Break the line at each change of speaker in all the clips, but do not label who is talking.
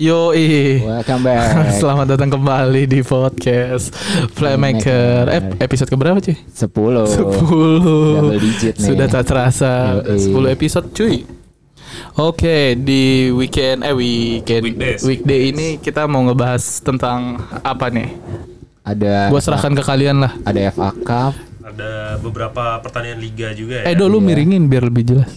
Yo
Welcome back.
Eh. Selamat datang kembali di podcast Playmaker. Eh, episode keberapa cuy?
10.
Sepuluh.
Double digit nih.
Sudah tak terasa
Yoi.
10 episode cuy. Oke, di weekend eh weekend
Weekdays.
weekday ini kita mau ngebahas tentang apa nih?
Ada
Gua serahkan ke kalian lah.
ada FA Cup.
Ada beberapa pertandingan liga juga
Iya.
ya.
Eh, do lu miringin biar lebih jelas.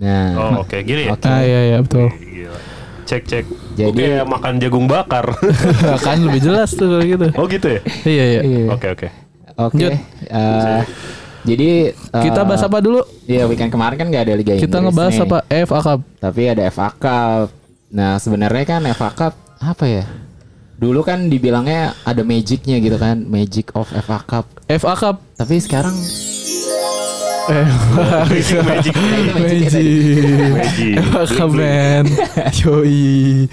Nah,
Oh, oke, gini ya.
Oke.
Ah iya iya betul.
Gila. Cek cek.
Jadi-
Oke, makan jagung bakar.
kan lebih jelas tuh kalau gitu.
oh gitu ya.
Iya iya.
Iya.
Oke oke.
oke.
Lanjut.
Eh, jadi eh,
Kita bahas apa dulu?
Iya, weekend kemarin kan gak ada Liga
Kita
Inggris
ngebahas
nih.
apa? FA Cup.
Tapi ada FA Cup. Nah, sebenarnya kan FA Cup apa ya? Dulu kan dibilangnya ada magicnya gitu kan, magic of FA Cup.
FA Cup.
Tapi sekarang
Eh,
Magic magic
Magic.
magic.
FA Cup men. Yoi.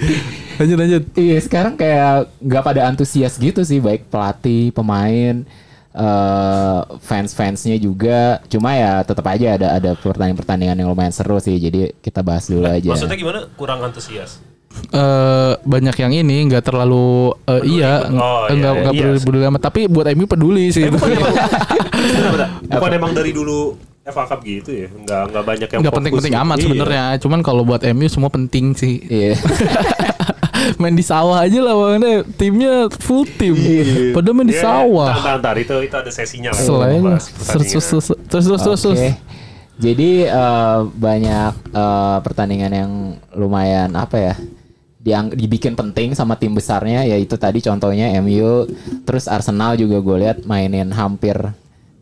Lanjut lanjut.
Iya sekarang kayak nggak pada antusias gitu sih baik pelatih, pemain, eh fans-fansnya juga. Cuma ya tetap aja ada ada pertandingan-pertandingan yang lumayan seru sih. Jadi kita bahas dulu aja.
Maksudnya gimana? Kurang antusias.
eh banyak yang ini nggak terlalu eh,
Peduli.
iya nggak
Oh, iya,
nggak
iya,
nggak
iya. ya?
peduli, peduli amat tapi buat MU peduli sih itu
Bener, bener. Bukan emang dari dulu FA Cup gitu ya. Enggak enggak banyak yang
nggak
fokus.
penting-penting
Iya.
amat sebenarnya cuman kalau buat MU semua penting sih
Iya.
main di sawah aja lah makanya timnya full tim padahal main di
Iya,
sawah
Tahan, tahan, tahan. Itu itu ada sesinya lah.
selain
Bahas
terus terus
pertandingan.
terus terus terus, terus, terus.
Oke. Jadi eh, banyak eh, pertandingan yang lumayan apa ya? Yang dibikin penting sama tim besarnya yaitu tadi contohnya MU, terus Arsenal juga gue lihat mainin hampir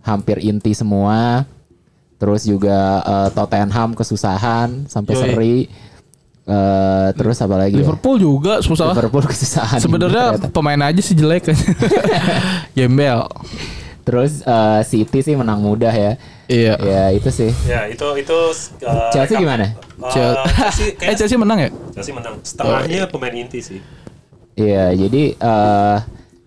hampir inti semua. Terus juga eh, Tottenham kesusahan sampai
Yoi.
seri. Eh, terus apa lagi? ya?
Liverpool juga susah
Liverpool kesusahan. ini
sebenarnya
ternyata.
pemain aja sih jelek gembel
terus eh, City sih menang mudah ya.
iya
Ya itu sih.
Ya, itu itu uh,
Chelsea
rekap-
gimana?
Uh,
Chel-
Chelsea,
eh
kayaknya
Chelsea Oh, menang ya
Chelsea menang. Setengahnya pemain inti sih.
Iya, jadi eh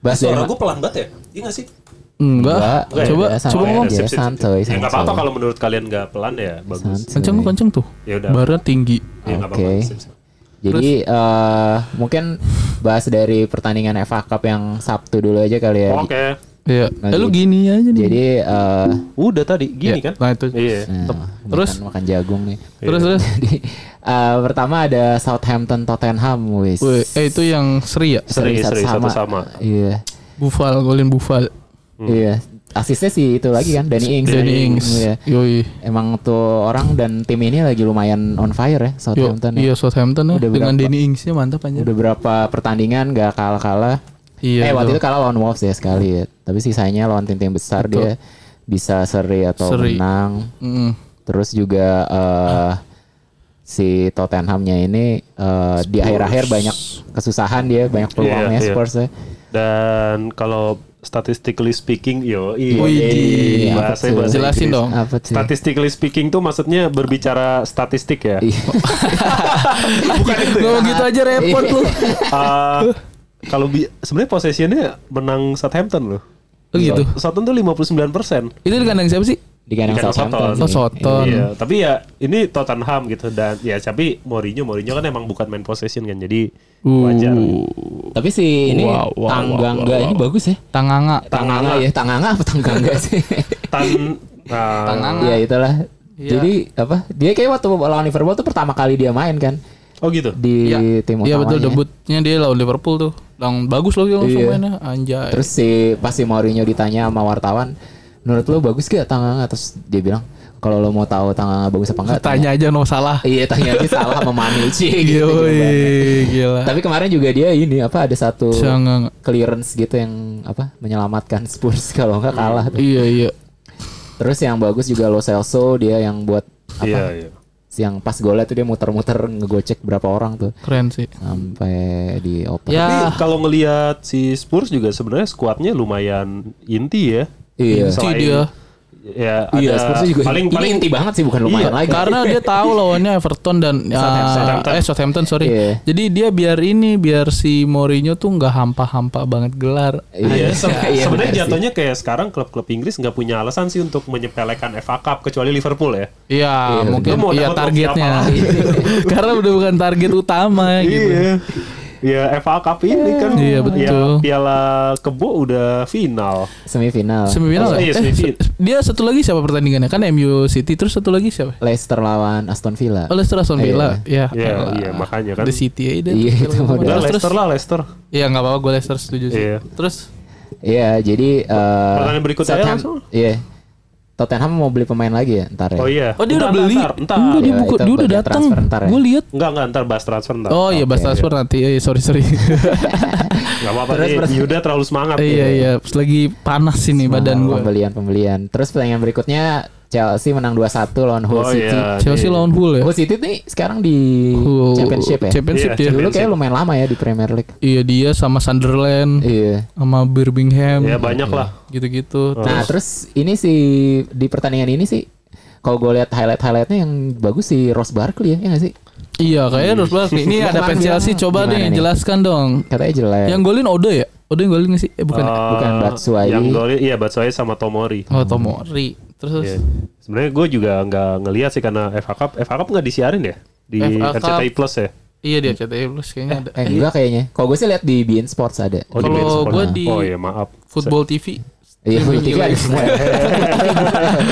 bahas dari
Suara gue pelan banget ya? Iya nggak sih?
Enggak,
enggak
enggak,
coba
enggak, sama
coba
aja.
ngomong
Iya, santuy,
Ya nggak
santuy.
apa-apa kalau menurut kalian nggak pelan ya bagus.
Santuy.
kenceng kenceng tuh
Ya udah.
barnya tinggi
Ya nggak apa-apa.
Oke.
sip, sip.
Jadi eh mungkin bahas dari pertandingan FA Cup yang Sabtu dulu aja kali ya.
Oke.
Iya.
Nah,
Eh, lu
jadi-
gini aja nih.
Jadi eh
Udah tadi gini
Iya,
kan?
Nah itu.
Iya.
nah,
Terus?
makan, makan jagung nih.
Terus terus.
Jadi eh, pertama ada Southampton Tottenham wis.
Wih, eh itu yang seri ya.
Seri, seri, satu sama.
Iya.
Bufal golin Bufal.
Hmm.
Iya. Asisnya sih itu lagi kan Danny Ings.
Danny Ings.
Iya.
Yoi.
Emang tuh orang dan tim ini lagi lumayan on fire ya
Yo,
Southampton. ya.
iya Southampton ya.
Udah
Dengan
berapa?
Danny Ingsnya mantap anjir.
Udah berapa pertandingan gak kalah-kalah.
Iya.
eh waktu
betul.
itu kalah lawan Wolves ya sekali ya. Tapi sisanya lawan tim-tim besar dia
Betul.
bisa seri atau
Seri.
menang.
Mm.
Terus juga eh, si Tottenhamnya ini eh, di akhir-akhir banyak kesusahan dia, banyak peluangnya
iya.
Spurs ya.
Dan kalau statistically speaking, yo, iya.
Wih,
Iya,
apa
bahasa
tuh? Iya.
bahasa
Jelasin
Inggris.
dong.
Apa sih?
Statistically speaking tuh maksudnya berbicara statistik ya.
Iya.
Bukan itu. ya?
Ngomong gitu aja repot lu.
Iya.
Eh, kalau bi- sebenarnya possessionnya menang Southampton loh.
Oh gitu.
Iya.
Southampton tuh 59%.
Itu di kandang siapa sih?
Di kandang
Di kandang
Southampton.
Southampton.
sih.
Southampton.
Iya, tapi ya ini Tottenham gitu dan ya tapi Mourinho Mourinho kan emang bukan main possession kan jadi wajar.
Uh,
Tapi si ini
Wow, wow,
Tanggangga
wow, wow,
ini
wow.
bagus ya.
Tanganga.
Tanganga ya, Tanganga apa Tanggangga sih?
Tan nah,
Tanganga.
Iya itulah.
Iya.
Jadi apa? Dia kayak waktu lawan Liverpool tuh pertama kali dia main kan
Oh gitu.
di
Iya.
tim utamanya.
Iya betul debutnya dia lawan Liverpool tuh. Yang bagus loh dia langsung
Iya.
mainnya anjay.
Terus si pasti Mourinho ditanya sama wartawan, menurut lo bagus gak Tanganga? Terus dia bilang, kalau lo mau tahu Tanganga bagus apa enggak?
tanya aja no salah.
Iya tanya aja salah sama Manucci gitu. jawabannya.
Yoi, gila.
Tapi kemarin juga dia ini apa ada satu
Jangan.
clearance gitu yang apa menyelamatkan Spurs kalau nggak kalah. tuh.
Iya iya.
Terus yang bagus juga Lo Celso dia yang buat apa?
Iya, iya.
Yang pas golnya tuh dia muter-muter ngegocek berapa orang tuh
Keren sih.
sampai di open.
Ya.
Tapi kalau ngelihat si Spurs juga sebenarnya skuadnya lumayan inti ya.
Iya.
Inti dia.
Ya ada
Iya, Spurs juga
paling
ini
paling
inti banget sih bukan
Iya,
lumayan lagi.
karena dia tahu lawannya Everton dan ya,
Southampton.
eh Southampton sorry.
Iya.
Jadi dia biar ini biar si Mourinho tuh nggak hampa-hampa banget gelar.
Iya, se-
iya, benar
sebenarnya
sih.
jatuhnya kayak sekarang klub-klub Inggris nggak punya alasan sih untuk menyepelekan FA Cup kecuali Liverpool ya.
Iya, mungkin
Lu mau
iya
dapat
targetnya.
siapa lagi?
karena udah bukan target utama gitu.
Iya. Ya FA Cup ini kan
Iya,
ya,
betul.
Piala Kebo udah final
Semifinal.
Semifinal. ya?
Iya,
Eh,
semifinal.
se- dia satu lagi siapa pertandingannya? Kan MU City terus satu lagi siapa?
Leicester lawan Aston Villa.
Oh, Leicester Aston Villa. Ya,
Iya,
elah.
iya, makanya kan.
The City aja deh.
Iya, itu
Terus-
modal.
Udah
terus-
Leicester lah Leicester
Iya, enggak apa-apa gue Leicester setuju sih.
Iya.
Terus
Iya, jadi eh,
Pertandingan berikutnya aja
Tottenham-
langsung.
Iya. Tottenham mau beli pemain lagi ya ntar ya.
Oh iya
Oh, dia udah
Ntar,
beli.
Ntar, ntar.
Enggak, dia
Ya,
buka, dia
itu
udah
bagian
datang.
transfer ntar ya.
Gue lihat.
Enggak enggak ntar bahas transfer ntar
Oh iya, bahas
Oke,
transfer nanti. Eh, sorry, sorry.
Gak apa-apa
Terus,
nih
terus.
Yuda terlalu semangat
iya, iya. Lagi panas ini badan gue.
Pembelian-pembelian. Terus pertandingan berikutnya Chelsea menang 2-1 lawan Hull
Oh
City.
iya
Chelsea
Iya.
lawan Hull ya.
Hull City nih sekarang di
Hull-
Championship ya.
Championship
Iya,
dia.
Dulu kayak lumayan lama ya di Premier League.
Iya, dia sama Sunderland,
Iya.
sama Birmingham,
Ya banyak lah Oh,
gitu-gitu.
Nah, terus ini sih di pertandingan ini sih kalau gue lihat highlight-highlightnya yang bagus sih Ross Barkley ya, ya gak sih?
Iya, kayaknya harus banget. nih. Ini
Gimana,
ada fans
gimana?
Chelsea, coba
Gimana Eh.
nih,
nih?
jelaskan dong.
Katanya jelek.
Yang golin Ode ya? Ode yang golin nggak sih? Eh, bukan. ya?
Eh,
bukan, Batshuayi.
Yang golin Iya Batshuayi sama Tomori
Oh, Tomori. Terus
Iya. Sebenarnya gue juga nggak ngelihat sih karena FA Cup FA Cup nggak disiarin ya di
FA Cup.
RCTI Plus ya.
iya dia CTI Plus kayaknya ada.
eh,
Iya.
enggak kayaknya. Kalau gue sih lihat di Bein Sports ada.
Oh, di
Kalau
Bein Sport.
gua di-
Oh iya maaf.
Football TV.
Iya,
Streaming
TV
gila.
ada semua.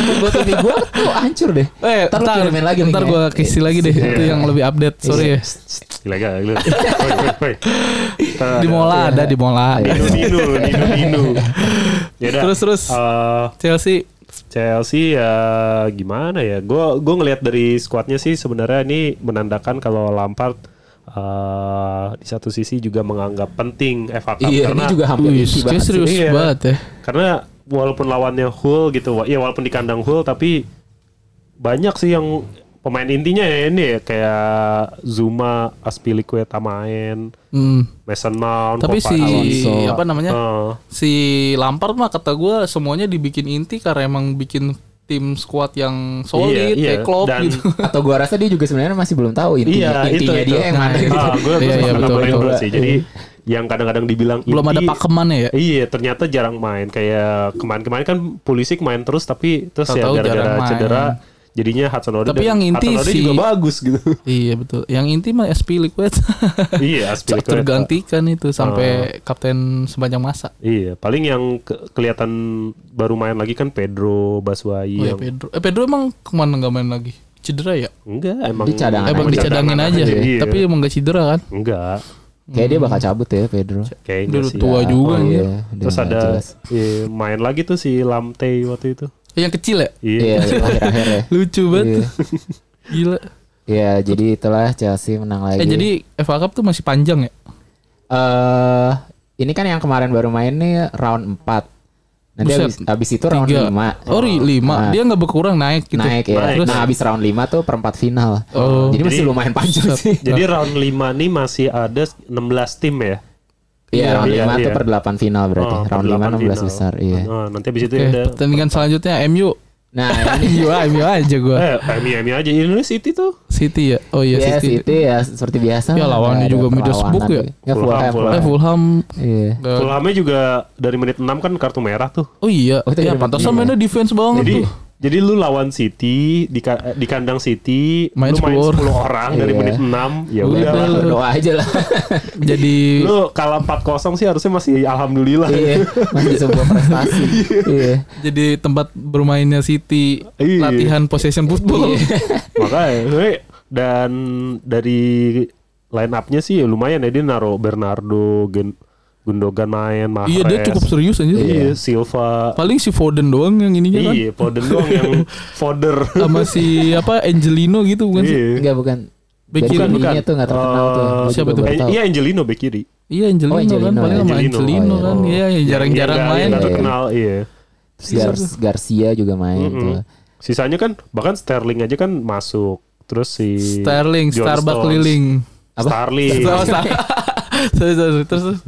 Gue TV gue tuh hancur deh.
Eh,
Ntar lu kirimin lagi ya. Iya.
ntar
linknya.
gua kasih lagi deh itu yang lebih update. Sorry
Iya.
ya.
Gila gila. gila. Woi, woi, woi. Ntar
Di
Iya.
Mola ada di Mola.
Nino Nino Nino Nino. Yaudah.
Terus, terus.
Eh,
Chelsea
Chelsea ya gimana ya? Gue gue ngelihat dari skuadnya sih sebenarnya ini menandakan kalau Lampard eh, di satu sisi juga menganggap penting FA Cup
Iya, ini
karena
juga hampir
Wih,
isi
kayak
banget sih.
serius
Iya.
banget ya.
Karena walaupun lawannya Hull gitu, wa- ya walaupun di kandang Hull tapi banyak sih yang pemain intinya ya ini ya kayak Zuma, Aspilicueta main,
Hmm.
Mason Mount,
Tapi
Kopa
si
Alonso.
apa namanya?
Eh,
Si Lampard mah kata gua semuanya dibikin inti karena emang bikin tim squad yang solid
Iya, iya.
kayak Klopp
Dan-
gitu.
Atau gua rasa dia juga sebenarnya masih belum tahu intinya
Iya, itu,
intinya
itu.
dia yang mana gitu.
Ah, gue
Iya,
iya,
iya, betul, betul.
sih. Jadi yang kadang-kadang dibilang
Belum ada
inti,
pakemannya ya.
Iya, ternyata jarang main. Kayak kemarin-kemarin kan Pulisic main terus tapi terus ya
Tahu-tahu jarang
gara-gara
main.
cedera jadinya Hudson Odoi.
Tapi yang inti
Hudson-Odoi
si-
juga bagus gitu.
Iya betul. Yang inti mah SP Liquid. Cak
iya, Aspilicueta.
tergantikan itu sampai kapten sepanjang masa.
Iya, paling yang ke- kelihatan baru main lagi kan Pedro Baswai
Oh ya
yang
Pedro. Eh Pedro emang kemana nggak main lagi? Cedera ya?
enggak emang
Di cadangan
Nah, emang
emang
dicadangin aja.
Iya.
Tapi emang nggak cedera kan?
enggak
Kayak dia bakal cabut ya Pedro.
kayaknya
Dulu
sih.
tua
Ya,
juga.
oh
anjir.
iya, udah
Terus
nggak
ada
jelas.
iya, main lagi tuh si Lamte waktu itu.
Eh, Yang kecil ya?
Iya, akhir-akhir ya.
Lucu banget. Gila.
Iya, jadi itulah Chelsea menang lagi.
Eh jadi FA Cup tuh masih panjang ya?
eh ini kan yang kemarin baru main nih round 4. Nanti
Buset.
habis, habis itu round
Tiga.
5.
Oh, ri- lima. Dia nggak berkurang naik gitu.
Naik ya.
Naik.
Nah, habis round 5 tuh perempat final.
Oh.
Jadi masih
Jadi-
lumayan panjang sih.
Jadi round 5 nih masih ada 16 tim ya.
Iya, round
Iya,
5
iya.
tuh per 8 final berarti.
Oh,
round 5
perdelapan
16
final.
besar, iya.
Oh, nanti habis itu
Oke,
ada
pertandingan selanjutnya MU.
Nah, ini
MU, MU aja gua.
eh MU MU aja Indonesia City tuh.
City ya. Oh iya
ya
City.
City ya seperti biasa.
Ya,
lah,
lawannya
ada
juga Middlesbrough
perlawanan.
ya?
Ya Fulham,
Fulham.
Eh
Fulham.
Fulham.
Iya.
nggak-
Fulhamnya juga dari menit 6 kan kartu merah tuh.
Oh iya.
Oh, itu
ya
dari
pantesan mainnya
Madrid,
defense banget
Jadi
tuh.
jadi lu lawan City di ka- eh, di kandang City
Main
lu main
10
10 orang dari
Iya.
menit 6 ya
Udah
udah.
lah, berdoa aja lah.
Jadi
Lu kalah 4-0 sih harusnya masih alhamdulillah.
Iya, masih sebuah prestasi. Iya.
jadi tempat bermainnya City
Iya.
latihan possession football.
Iya.
Makanya eh, dan dari line up-nya sih lumayan ya dia naro Bernardo Gen- Gundogan main Mahrez.
Iya dia cukup serius anjir.
Iya, Silva.
Paling si Foden doang yang ininya kan.
Iya, Foden doang yang fodder.
Sama si apa Angelino gitu bukan sih?
Iya.
Enggak bukan.
Back
Dari
kiri,
ininya
bukan.
tuh enggak terkenal tuh.
Eh,
Gua
Oh, siapa
juga
tuh?
baru
Eh,
tahu.
Iya Angelino bek kiri.
Iya Angelino,
Oh, Angelino,
kan paling sama
Angelino.
Angelino
Oh, iya.
kan. Iya yang jarang-jarang
Yang- yang
main.
nggak
Iya.
terkenal, iya.
Terus Gar- Garcia juga main
Mm-mm.
tuh.
Sisanya kan bahkan Sterling aja kan masuk. Terus si
Sterling,
John
Starbuck
Stones. Iya.
keliling.
Starling
Sama sama. Sorry, sorry, terus terus.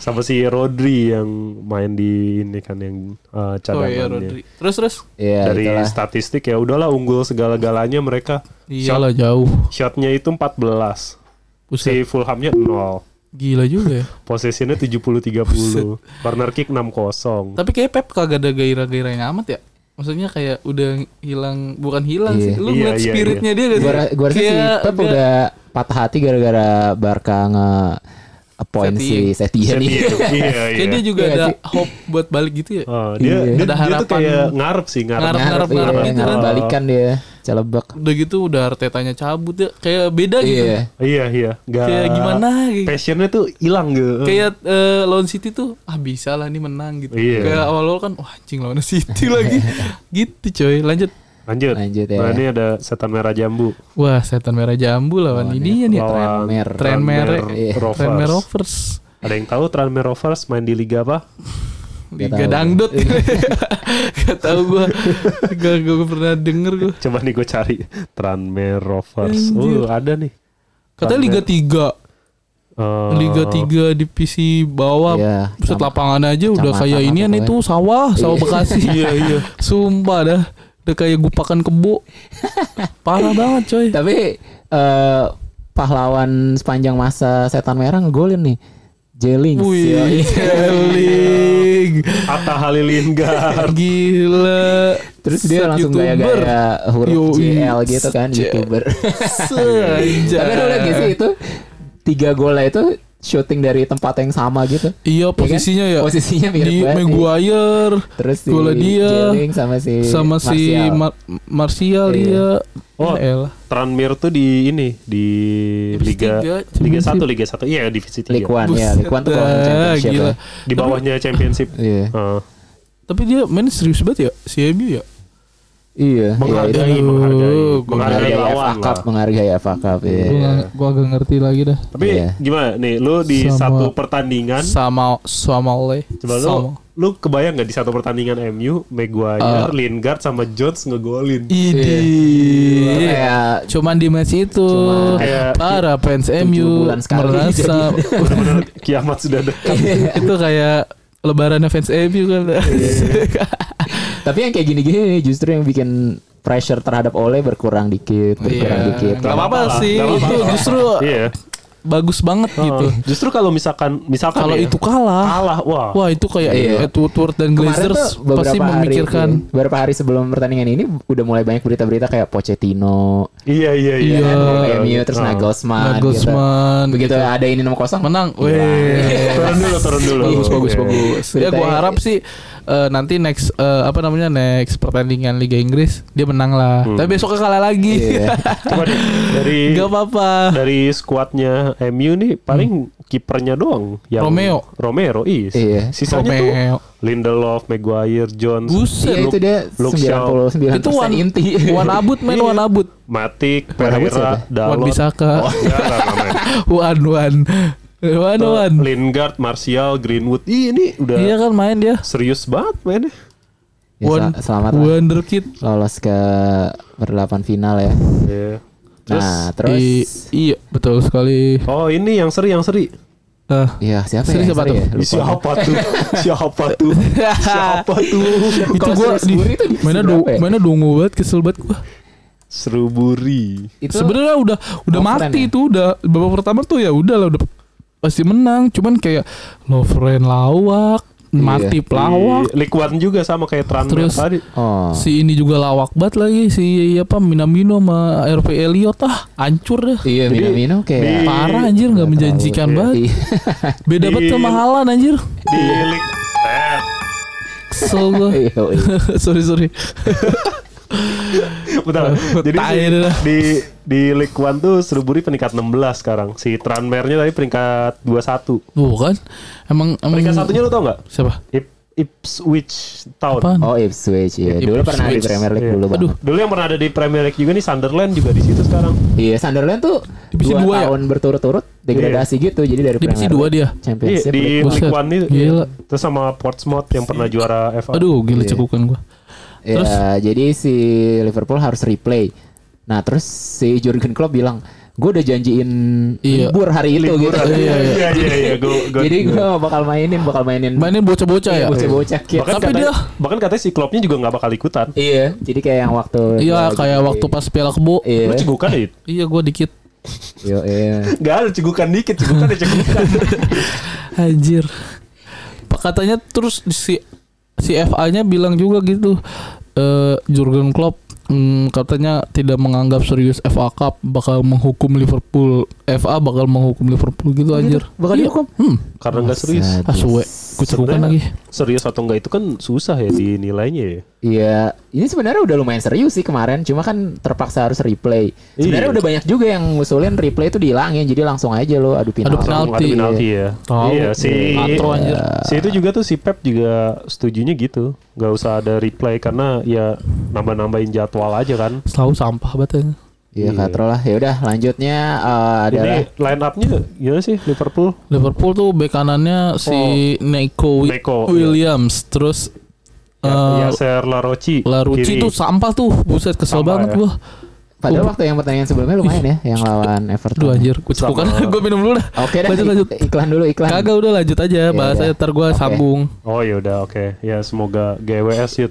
sama si Rodri yang main di ini kan yang eh,
Oh
cadangannya.
iya Rodri. Terus terus.
Iya,
Dari
itulah.
statistik ya udahlah unggul segala-galanya mereka. Shot-
Iyalah jauh.
Shotnya itu 14.
Iya. Buset.
Si Fulhamnya 0.
Gila juga ya.
Posisinya 70-30. Corner kick 6-0.
Tapi kayak Pep kagak ada gairah-gairahnya amat ya. Maksudnya kayak udah hilang, bukan hilang
Iya.
sih. Lu
Iya,
ngeliat
iya,
Gitu. spiritnya dia gak sih?
Gua ra- gua rasa si
Kayak
Pep
nggak-
udah patah hati gara-gara Barca nge poin si Setien ini.
Iya, iya.
Kayak dia juga
Iya
ada
sih.
hope buat balik gitu ya.
Oh, dia,
Iya.
dia,
Ada
dia tuh
harapan.
kayak ngarep sih ngarep.
Ngarep.
Ngarep,
ngarep
iya,
gitu
ngarep
kan.
balikan dia, celebek.
Udah gitu udah Artetanya cabut ya. Kayak beda gitu.
Iya.
Iya iya. Nggak-
Kayak gimana gitu.
Passionnya tuh hilang gitu.
Kayak eh, lawan City tuh ah bisa lah nih menang gitu.
Iya.
Kayak awal-awal kan wah anjing lawan City lagi. gitu coy. Lanjut.
Lanjut.
Lanjut, ya.
Nah, ini ada setan merah jambu.
Wah, setan merah jambu lawan ini ya nih.
Lawan
Tranmere.
Tren merek.
Iya.
Rovers.
Tren Rovers.
Ada yang tahu Tranmere Rovers main di liga apa?
Liga
tahu. Iya.
dangdut. Gak tau gue. Gak, gak pernah denger gue.
Coba nih gue cari Tranmere Rovers.
Anjir.
Oh, ada nih.
Katanya Liga 3.
Eh,
Liga 3 divisi bawah
Oh. Iya,
set
sama.
lapangan aja udah
Kecamatan
kayak
apa
ini
pokoknya.
itu sawah, sawah Bekasi. iya iya. Sumpah dah, udah kayak gupakan kebo. Parah banget coy.
Tapi eh pahlawan sepanjang masa setan merah ngegolin nih. Jelings. iya.
Wih, Jeling.
Eh, Atta Halilinga.
Gila.
Terus dia
Set
langsung
YouTuber.
gaya-gaya huruf
Yoi.
JL gitu kan,
Set.
YouTuber.
Seja.
Tapi kan lu lihat gak
Iya,
sih itu tiga golnya itu shooting dari tempat yang sama gitu.
Iya
kan?
posisinya ya.
Posisinya mirip
di
banget nih.
Maguire.
Terus si
Gola dia.
Jelings sama si
sama si
Martial.
Mar- Martial
Iya.
iya.
Oh,
Ya elah.
Tranmere tuh di ini di
Divisi
Liga
tiga,
Liga
Championship.
1 Liga 1. Iya, divisi 3.
League One ya,
Buset
League One tuh kalau
dah,
championship
gila.
ya.
Di bawahnya Championship.
Iya.
Eh,
Tapi dia main serius banget ya, si MU ya.
Iya, iya, itu
menghargai,
Aduh,
menghargai,
gua
menghargai
menghargai FA
lawan
Cup,
lah.
menghargai FA Cup. Iya.
Gua nggak- Gua agak ngerti lagi dah.
Tapi
Iya.
gimana nih, lu di
Sama-
satu pertandingan,
Sama sama oleh.
Kan? coba lu, lu kebayang nggak di satu pertandingan MU,
Ah.
Maguire, Lingard sama Jones ngegolin?
Iya. Idi.
Kayak
Iya. Cuman di match itu
Cuman
kayak
para fans
tujuh
MU
bulan sekali
merasa
Bener-bener kiamat sudah dekat.
itu kayak lebarannya fans MU kan.
Tapi yang kayak gini-gini nih justru yang bikin pressure terhadap Ole berkurang dikit, berkurang
Iya.
dikit.
Nggak apa-apa
lah,
sih,
nggak apa-apa.
itu justru
Iya.
bagus banget gitu.
Eh, Justru kalau misalkan misalkan
Kalau
ya,
itu kalah,
kalah, wah.
wah itu kayak
Iya.
Edward Woodward dan Glazers pasti memikirkan
hari, beberapa hari sebelum pertandingan ini udah mulai banyak berita-berita kayak Pochettino,
Iya, iya, iya.
Iya.
dari MU, terus
Ah.
Nagelsmann,
Nagelsmann
gitu. Begitu
gitu.
ada ini 0-0.
menang. Weh.
Iya. Turun dulu, turun dulu. Iya.
bagus bagus
Oke.
bagus. Ya
Ceritanya-
gua harap sih eh, nanti next eh, apa namanya next pertandingan Liga Inggris dia menang lah. Tapi besoknya kalah lagi.
Iya.
Coba deh, Hmm. dari
Gak apa-apa. Hmm.
dari skuadnya MU nih paling kipernya doang yang
Romeo.
Romero is.
Iya.
Sisanya
Romeo.
tuh Lindelof, Maguire, Jones,
Buset.
Iya, itu dia
Luke Shaw.
99%
itu wan
Iya, inti. Ya,
wan abut men
Iya.
wan abut.
Matic,
Wan Abud
Pereira,
siapa?
Wan
Dalot.
Bisaka.
Oh, enggak, enggak, enggak main.
Wan wan. Wan wan.
Lingard, Martial, Greenwood. Ih, ini udah
Iya kan main dia.
serius banget mainnya.
Ya, sel-
Wan
selamat lah.
wonderkid.
lolos ke berdelapan final ya.
Iya. Terus
nah, terus
I- iya betul sekali.
oh ini yang seri yang seri.
Nah,
Iya, siapa
Seri
ya?
siapa
Seri
tuh?
ya? Lupa.
Siapa tuh? Siapa tuh? Siapa tuh?
itu
Kalau
gua
serius
di
gurih tuh di
mana
berapa
do
ya?
mana dongo banget kesel banget gua.
Seruburi.
Itu
sebenarnya udah udah
Lovren
mati
ya?
itu udah babak pertama tuh ya udah lah udah pasti menang cuman kayak Lovren lawak
Iya.
mati pelawak
Likuan juga sama kayak Tranmere
Terus-
tadi.
Oh.
si ini juga lawak banget lagi si apa Minamino sama RP Elliot ah hancur dah
Iya,
Jadi,
Minamino
di-
kayak
parah anjir nggak menjanjikan
terlalu,
iya.
banget beda
Di-
banget sama Halan anjir
Di Lik Eh,
kesel gua
Iya, iya.
sorry sorry
Bentar. Jadi
Tai
si-
dah.
di di League One tuh Seruburi peringkat 16 sekarang. Si Tranmere-nya tadi peringkat 21.
tuh kan emang emang
Peringkat satunya lu tau nggak?
siapa
Ip, Ipswich Town.
Apaan?
Oh, Ipswich ya. Dulu
Ipswich.
pernah di Premier League
Iya.
dulu, Bang.
Aduh.
Dulu yang pernah ada di Premier League juga nih Sunderland juga di situ sekarang.
Iya, Sunderland tuh
Divisi
dua
dua ya? Iya.
tahun berturut-turut degradasi gitu. Jadi dari
Divisi
Premier
dua
League,
dia?
Iya,
Championship
di
League One.
Buset.
League One itu.
Gila.
Terus sama Portsmouth yang pernah juara FA.
aduh gila
Iya.
cekukan gua
Ya, jadi si Liverpool harus replay. Nah, terus si Jurgen Klopp bilang, "Gue udah janjiin
Iya.
libur hari itu gitu."
Liburan. Iya, iya, iya, iya. Gua- gua-
Jadi gue bakal mainin, bakal mainin
mainin bocah-bocah ya
Iya, bocah-bocah gitu. kids.
bahkan
Tapi
katanya,
dia-
bahkan katanya si Kloppnya juga nggak bakal ikutan.
Iya, jadi kayak yang waktu
iya
lagi-
kayak waktu pas piala kebo
Iya.
Lu cegukan ya? It?
iya gua dikit
Yo, iya.
Nggak ada cegukan dikit, cegukan ya cegukan.
Anjir. Pak katanya terus si si FA-nya bilang juga gitu. eh Jurgen Klopp Hmm, katanya tidak menganggap serius FA Cup bakal menghukum Liverpool. FA bakal menghukum Liverpool gitu anjir. Ah,
Bakal
Iya.
dihukum?
Hmm.
Karena nggak serius.
Sadis.
Asuwe. Kucekukan lagi.
Sebenarnya Serius atau enggak itu kan susah ya dinilainya ya.
Iya, ini sebenarnya udah lumayan serius sih kemarin, cuma kan terpaksa harus replay. Sebenarnya
Iya.
udah banyak juga yang ngusulin replay itu dihilangin, jadi langsung aja lo adu penalti.
Adu penalti.
Ada penalti ya.
Tahu.
Iya si
Atro anjir.
Si itu juga tuh si Pep juga setujunya gitu. Nggak usah ada replay karena ya nambah-nambahin jadwal aja kan.
Selalu sampah
ya.
batanya.
Iya, katro lah. Ya udah, lanjutnya eh, adalah
Ini line up-nya gimana sih Liverpool?
Liverpool tuw bek kanannya si Neco, Wi-
Oh. Neco, iya.
Williams terus
Ya,
eh,
Yasser Laroci.
Larucci
kiri.
tuh sampah tuh. Buset kesel
Sampah
banget
ya.
gua.
padahal waktu yang pertandingan sebelumnya lumayan ya, yang lawan
Aduh
Everton.
Oh. anjir, kucekukan.
Sama-
gua minum dulu dah.
Oke dah,
lanjut lanjut.
ik- iklan dulu iklan.
Kagak udah lanjut aja bahasa
udah.
ntar gua
iya. Oke.
sambung.
Oh ya udah oke. Ya semoga GWS ya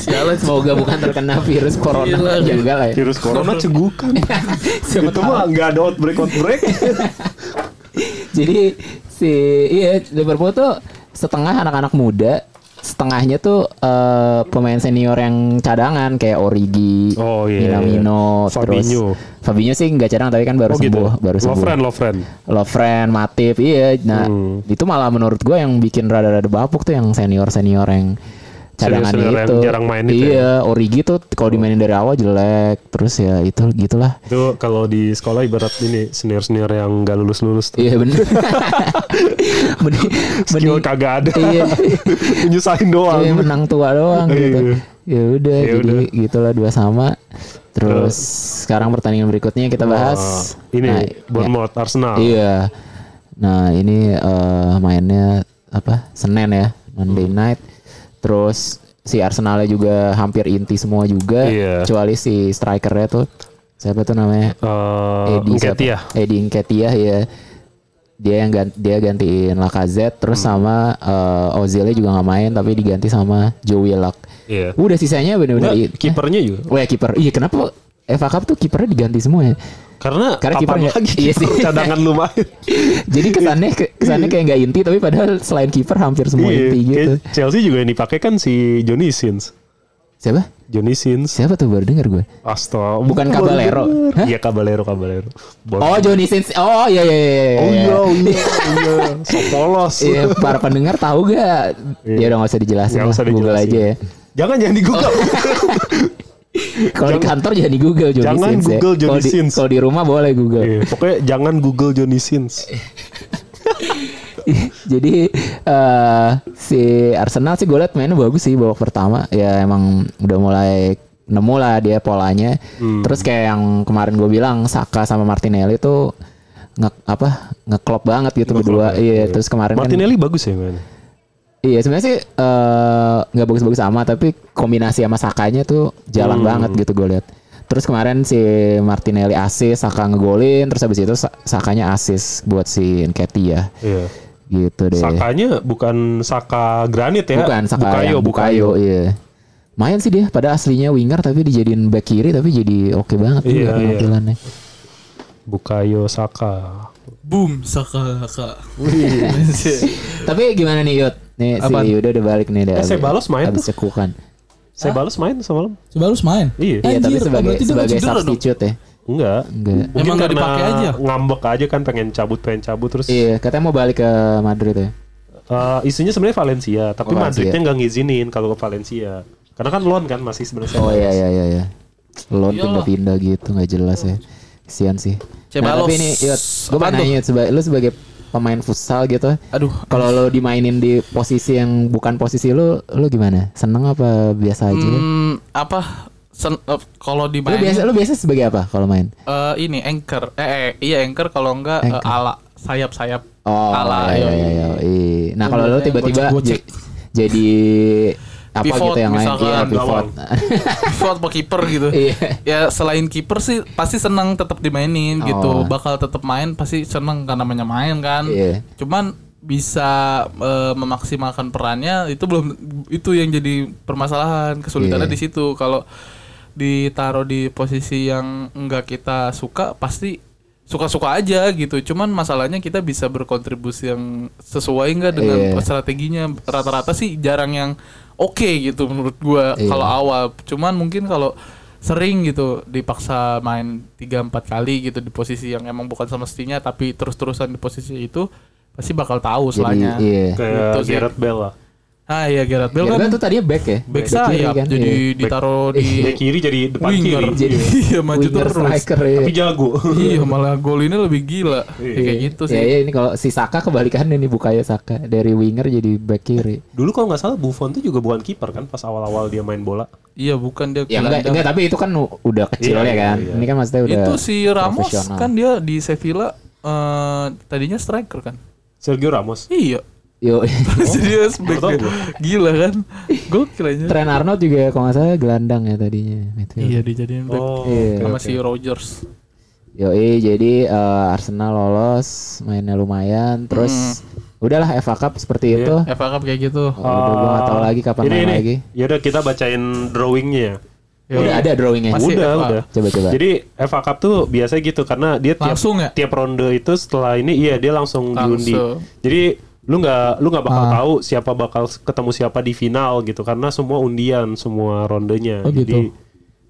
Sialan, semoga bukan terkena virus corona
Gila.
juga lah ya.
virus corona cegukan.
Iya, Siapa
itu
tahu.
mah nggak ada outbreak outbreak.
Jadi si iya Liverpool tuh setengah anak-anak muda, setengahnya tuh eh, pemain senior yang cadangan kayak Origi,
Oh, iya,
Minamino,
iya. Fabinho.
terus Fabinho sih nggak cadang tapi kan baru
oh gitu.
sembuh, baru sembuh.
Lovren Lovren.
Lovren, Matip, iya. Nah
Hmm.
itu malah menurut gue yang bikin rada-rada bapuk tuh yang senior-senior yang cadangan
Senior-senior yang
itu.
jarang main itu ya?
iya, Origi tuh kalau dimainin dari awal jelek, terus ya itu gitulah.
Itu kalau di sekolah ibarat ini senior senior yang nggak lulus lulus tuh.
Iya bener. Mending- mending-
Skill kagak ada.
Iya.
Menyusahin doang.
Iya menang tua doang gitu. Ya udah
Iya. Ya
jadi
udah.
gitulah dua sama. Terus sekarang pertandingan berikutnya kita
Wah,
bahas
Ah, ini
Nah,
Bournemouth Arsenal.
ya, Iya. Nah, ini eh, mainnya apa? Senin ya, Monday
Hmm.
night. Terus si Arsenalnya juga hampir inti semua juga
Iya.
kecuali si strikernya tuh siapa tuh namanya?
Eh,
Edi
Nketiah.
siapa? Edi Nketiah ya. Dia yang gan- dia gantiin Lacazette terus
Hmm.
sama eh, Ozilnya juga nggak main tapi diganti sama Joe Willock.
Iya.
Udah sisanya bener-bener
Nggak,
i-
kipernya juga.
Eh, oh ya kiper. Iya kenapa FA Cup tuh kipernya diganti semua ya?
Karena,
Karena
kapan
kipernya-
lagi
iya
kiper
sih.
cadangan lu main.
Jadi kesannya ke- kesannya kayak nggak inti tapi padahal selain kiper hampir semua
Iya,
inti gitu.
kayak Chelsea juga yang dipakai kan si Johnny Sins.
Siapa?
Johnny Sins.
Siapa tuh baru denger gue?
Astaga,
Bukan Caballero. Hah?
Iya Caballero Caballero. Bon-
Oh Johnny Sins. Oh iya iya iya. iya.
Oh iya, oh iya, oh iya. Sok polos.
Iya, para pendengar tahu gak? Ya udah nggak usah dijelasin
Iya. Nggak
lah,
usah
Google
dijelasin.
aja ya.
Jangan jangan di Google.
Kalau di
Jangan-
kantor jangan di Google Johnny
Jangan
Sins ya.
Google
Kalau
Johnny
di-
Sins.
Kalau di rumah boleh Google.
Iya, pokoknya jangan Google Johnny Sins.
Eh, Jadi eh si Arsenal sih gue liat mainnya bagus sih babak pertama ya emang udah mulai nemu lah dia polanya. Terus kayak yang kemarin gue bilang Saka sama Martinelli tuh nge apa ngeklop banget gitu berdua. Iya terus kemarin kan
Martinelli bagus ya man.
iya sebenarnya sih eh, nggak bagus-bagus sama tapi kombinasi sama Sakanya tuh jalan banget gitu gue liat. Terus kemarin si Martinelli asis, Saka ngegolin, terus habis itu Sa- Sakanya asis buat si Nketiah
Iya.
gitu deh.
Sakanya bukan Saka granit ya.
Bukan Saka
Bukayo,
yang-
Bukayo.
iya. Main sih dia pada aslinya winger tapi dijadiin back kiri tapi jadi oke banget
Iya,
juga
iya.
penampilannya.
Bukayo Saka.
Boom saka saka.
Tapi gimana nih Yud? Nih
Apaan?
si Yuda udah balik nih dah.
Eh, Sebalos main
Habis cekukan.
Saya balas main semalam.
Coba harus main.
Iya,
Iya.
tapi
Anjir, kan
sebagai
berarti dia
sebagai
nggak cedera dong?
substitute ya.
Enggak.
Enggak.
Emang
Mungkin
nggak
karena
dipakai aja?
Ngambek aja kan pengen cabut pengen cabut terus.
Iya, katanya mau balik ke Madrid ya.
Eh, isunya sebenarnya Valencia,
Oh,
tapi
Valencia.
Madridnya nggak ngizinin kalau ke Valencia. Karena kan loan kan masih sebenarnya.
Oh iya iya iya iya. Loan
Iyalah.
pindah-pindah gitu nggak jelas ya. Kesian sih. Nah,
Cebalos.
tapi nih Yud, gue mau
Apaan tuh?
nanya Yud, seba- lu sebagai pemain futsal gitu,
Aduh.
Kalau lo dimainin di posisi yang bukan posisi lo, lo gimana? Seneng apa biasa aja?
Hmm, apa sen, eh, kalau di
Lo biasa lo biasa sebagai apa kalau main?
Eh, ini anchor. Eh, eh, iya anchor kalau enggak eh,
Anchor.
ala sayap-sayap
Oh,
ala. yoi.
iya, iya, iya, iya. Nah kalau lo
Yang
tiba-tiba
gocek-gocek.
j- jadi apa
Pivot,
gitu yang lain? Iya,
misalkan,
pivot.
gawang.
Pivot atau kiper gitu.
Iya.
ya selain kiper sih pasti seneng tetap dimainin gitu.
Oh.
Bakal tetap main pasti seneng karena namanya main kan.
Iya.
Cuman bisa eh, memaksimalkan perannya itu belum itu yang jadi permasalahan kesulitannya
Iya.
di situ kalau ditaruh di posisi yang enggak kita suka pasti suka-suka aja gitu. Cuman masalahnya kita bisa berkontribusi yang sesuai nggak dengan
Iya.
strateginya. Rata-rata sih jarang yang oke gitu menurut gua
Iya.
kalau awal. Cuman mungkin kalau sering gitu dipaksa main 3 4 kali gitu di posisi yang emang bukan semestinya tapi terus-terusan di posisi itu pasti bakal tahu
Jadi
selanya.
iya.
Kayak
Gitu sih.
Gareth Bale lah.
Ah iya Gareth Bale kan
Gerben tuh tadinya back ya.
back
kiri
sayap
kan,
jadi
iya.
ditaruh di
Dari kiri jadi depan
winger
kiri.
jadi iya maju
Winger
terus.
striker ya.
Tapi jago.
Iya malah gol ini lebih gila
Iya.
kayak gitu sih.
Ya, ya, ini kalau si Saka kebalikannya nih Bukaya Saka dari winger jadi back kiri.
Dulu kalau nggak salah Buffon tuh juga bukan kiper kan pas awal-awal dia main bola.
Iya bukan dia
Ya enggak,
gelandang.
enggak, tapi itu kan u- udah kecil
Iya,
ya kan.
iya, iya.
Ini kan maksudnya udah
Itu si Ramos
profesional.
kan dia di Sevilla eh, tadinya striker kan.
Sergio Ramos.
Iya.
Yo,
Terus dia back
Baru tahu gua.
gila kan. Gokil aja.
Trent Arnold juga kalau nggak salah gelandang ya tadinya. Itu.
Iya dijadiin back
Oh,
Iya.
sama
oke,
si
oke.
Rogers.
Yoi, jadi eh, Arsenal lolos, mainnya lumayan. Terus
Hmm.
udahlah FA Cup seperti itu.
FA Iya, Cup kayak gitu.
Oh, udah gua nggak tahu lagi kapan
Ini,
main
ini.
lagi.
Yaudah kita bacain drawingnya.
Ya
Udah ada drawingnya.
Masih
udah,
FA.
udah.
Coba coba.
Jadi FA Cup tuh biasanya gitu karena dia tiap
Langsung ya?
tiap ronde itu setelah ini iya dia langsung,
Langsung. Ah.
diundi. Jadi lu nggak lu nggak bakal tahu siapa bakal ketemu siapa di final gitu karena semua undian semua rondenya.
Oh,
Jadi
gitu.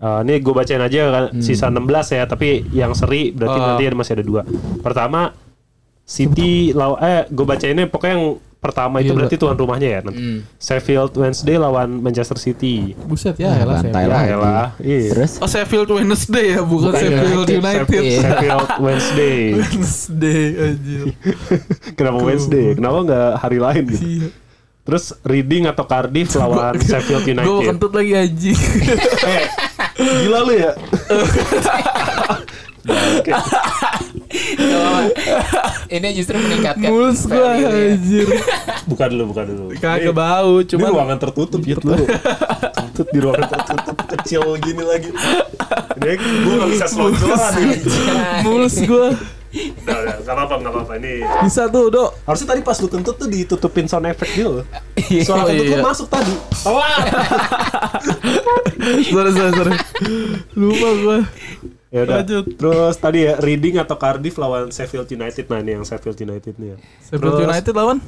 eh, ini gue bacain aja kan sisa 16 ya tapi yang seri berarti
Hmm. Ah.
nanti ada masih ada dua. Pertama City law eh gue bacainnya pokoknya yang pertama
Iya,
itu
Hmm.
berarti tuan rumahnya ya nanti. Sheffield Wednesday lawan Manchester City.
Buset ya elah
Iya, Bantai
Sevilla.
lah.
Ya elah, iya.
Terus
Oh Sheffield Wednesday ya bukan,
Iya.
Sheffield United.
Iya.
Sheffield Wednesday.
Wednesday anjir.
Kenapa Wednesday? Kenapa nggak hari lain gitu?
Iya.
Terus Reading atau Cardiff lawan Sheffield
Gue
United.
kentut lagi anjing.
Eh, gila lu ya? Nah, Oke.
Ah.
ini justru meningkatkan
Mulus gua anjir.
Buka dulu, buka dulu.
Kagak bau cuman
Cuma ruangan tertutup gitu. Kentut di ruangan tertutup kecil gini lagi. Ini gue nggak bisa selonjoran. ini.
mulus gua.
Udah, udah, nggak apa-apa, nggak apa-apa. Ini
Bisa tuh, Dok.
harusnya tadi pas lu kentut tuh ditutupin sound effect gitu. Suara
Oh,
kentut lu
iya.
masuk tadi. Wah.
Sorry, sorry, sorry. Lupa gua.
Ya udah.
Lanjut.
Terus tadi ya Reading atau Cardiff lawan Sheffield United nah ini yang Sheffield United nih. ya.
Sheffield
Terus
United lawan?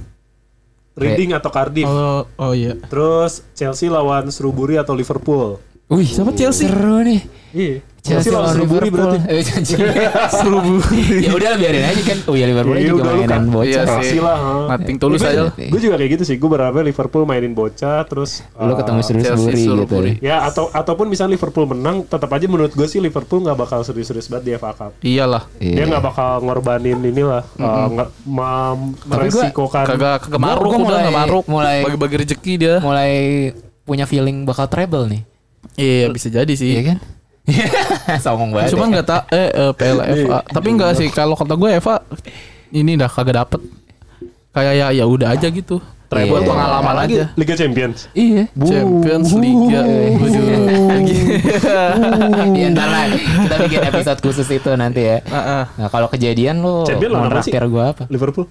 Reading atau Cardiff.
Oh, oh iya.
Terus Chelsea lawan Shrewsbury atau Liverpool.
Wih,
Siapa Chelsea?
seru nih.
Iya.
Chelsea
Chelsea, lawan
lawan
Shrewsbury
Liverpool.
berarti.
Eh, janji.
Seru bu.
ya udah biarin aja kan. Oh ya Liverpool
Iya,
juga
udah, lu
mainan
kan.
bocah.
Iya
Chelsea
sih.
lah, ha.
Nothing tulus aja lah.
Gue juga kayak gitu sih. Gue berharap Liverpool mainin bocah terus
Lu
eh,
ketemu Shrewsbury
Chelsea,
gitu.
Shrewsbury.
Ya atau ataupun misalnya Liverpool menang, tetap aja menurut gue sih Liverpool nggak bakal serius-serius banget di FA Cup.
Iyalah.
Iya.
Dia Iya nggak bakal ngorbanin inilah, eh, nggak mem-
Tapi gua
meresikokan.
Kagak kagak
Gua-
maruk
gua
udah
mulai-
enggak maruk.
mulai-
bagi-bagi rezeki dia.
Mulai punya feeling bakal treble nih.
Iya, bisa jadi sih.
Iya kan? Songong banget.
Cuman
ya.
enggak tak eh, eh
Iya,
PLFA. Tapi enggak sih kalau kata gue Eva ini dah kagak dapet kayak ya ya udah aja gitu. Treble
Iya.
pengalaman
Apalagi
aja.
Liga Champions.
Iya.
Champions Liga. Waduh.
Iya ntar lah kita bikin episode khusus itu nanti ya.
Heeh.
Nah kalau kejadian lu
Champion
mau
lawan apa sih?
traktir gue apa?
Liverpool.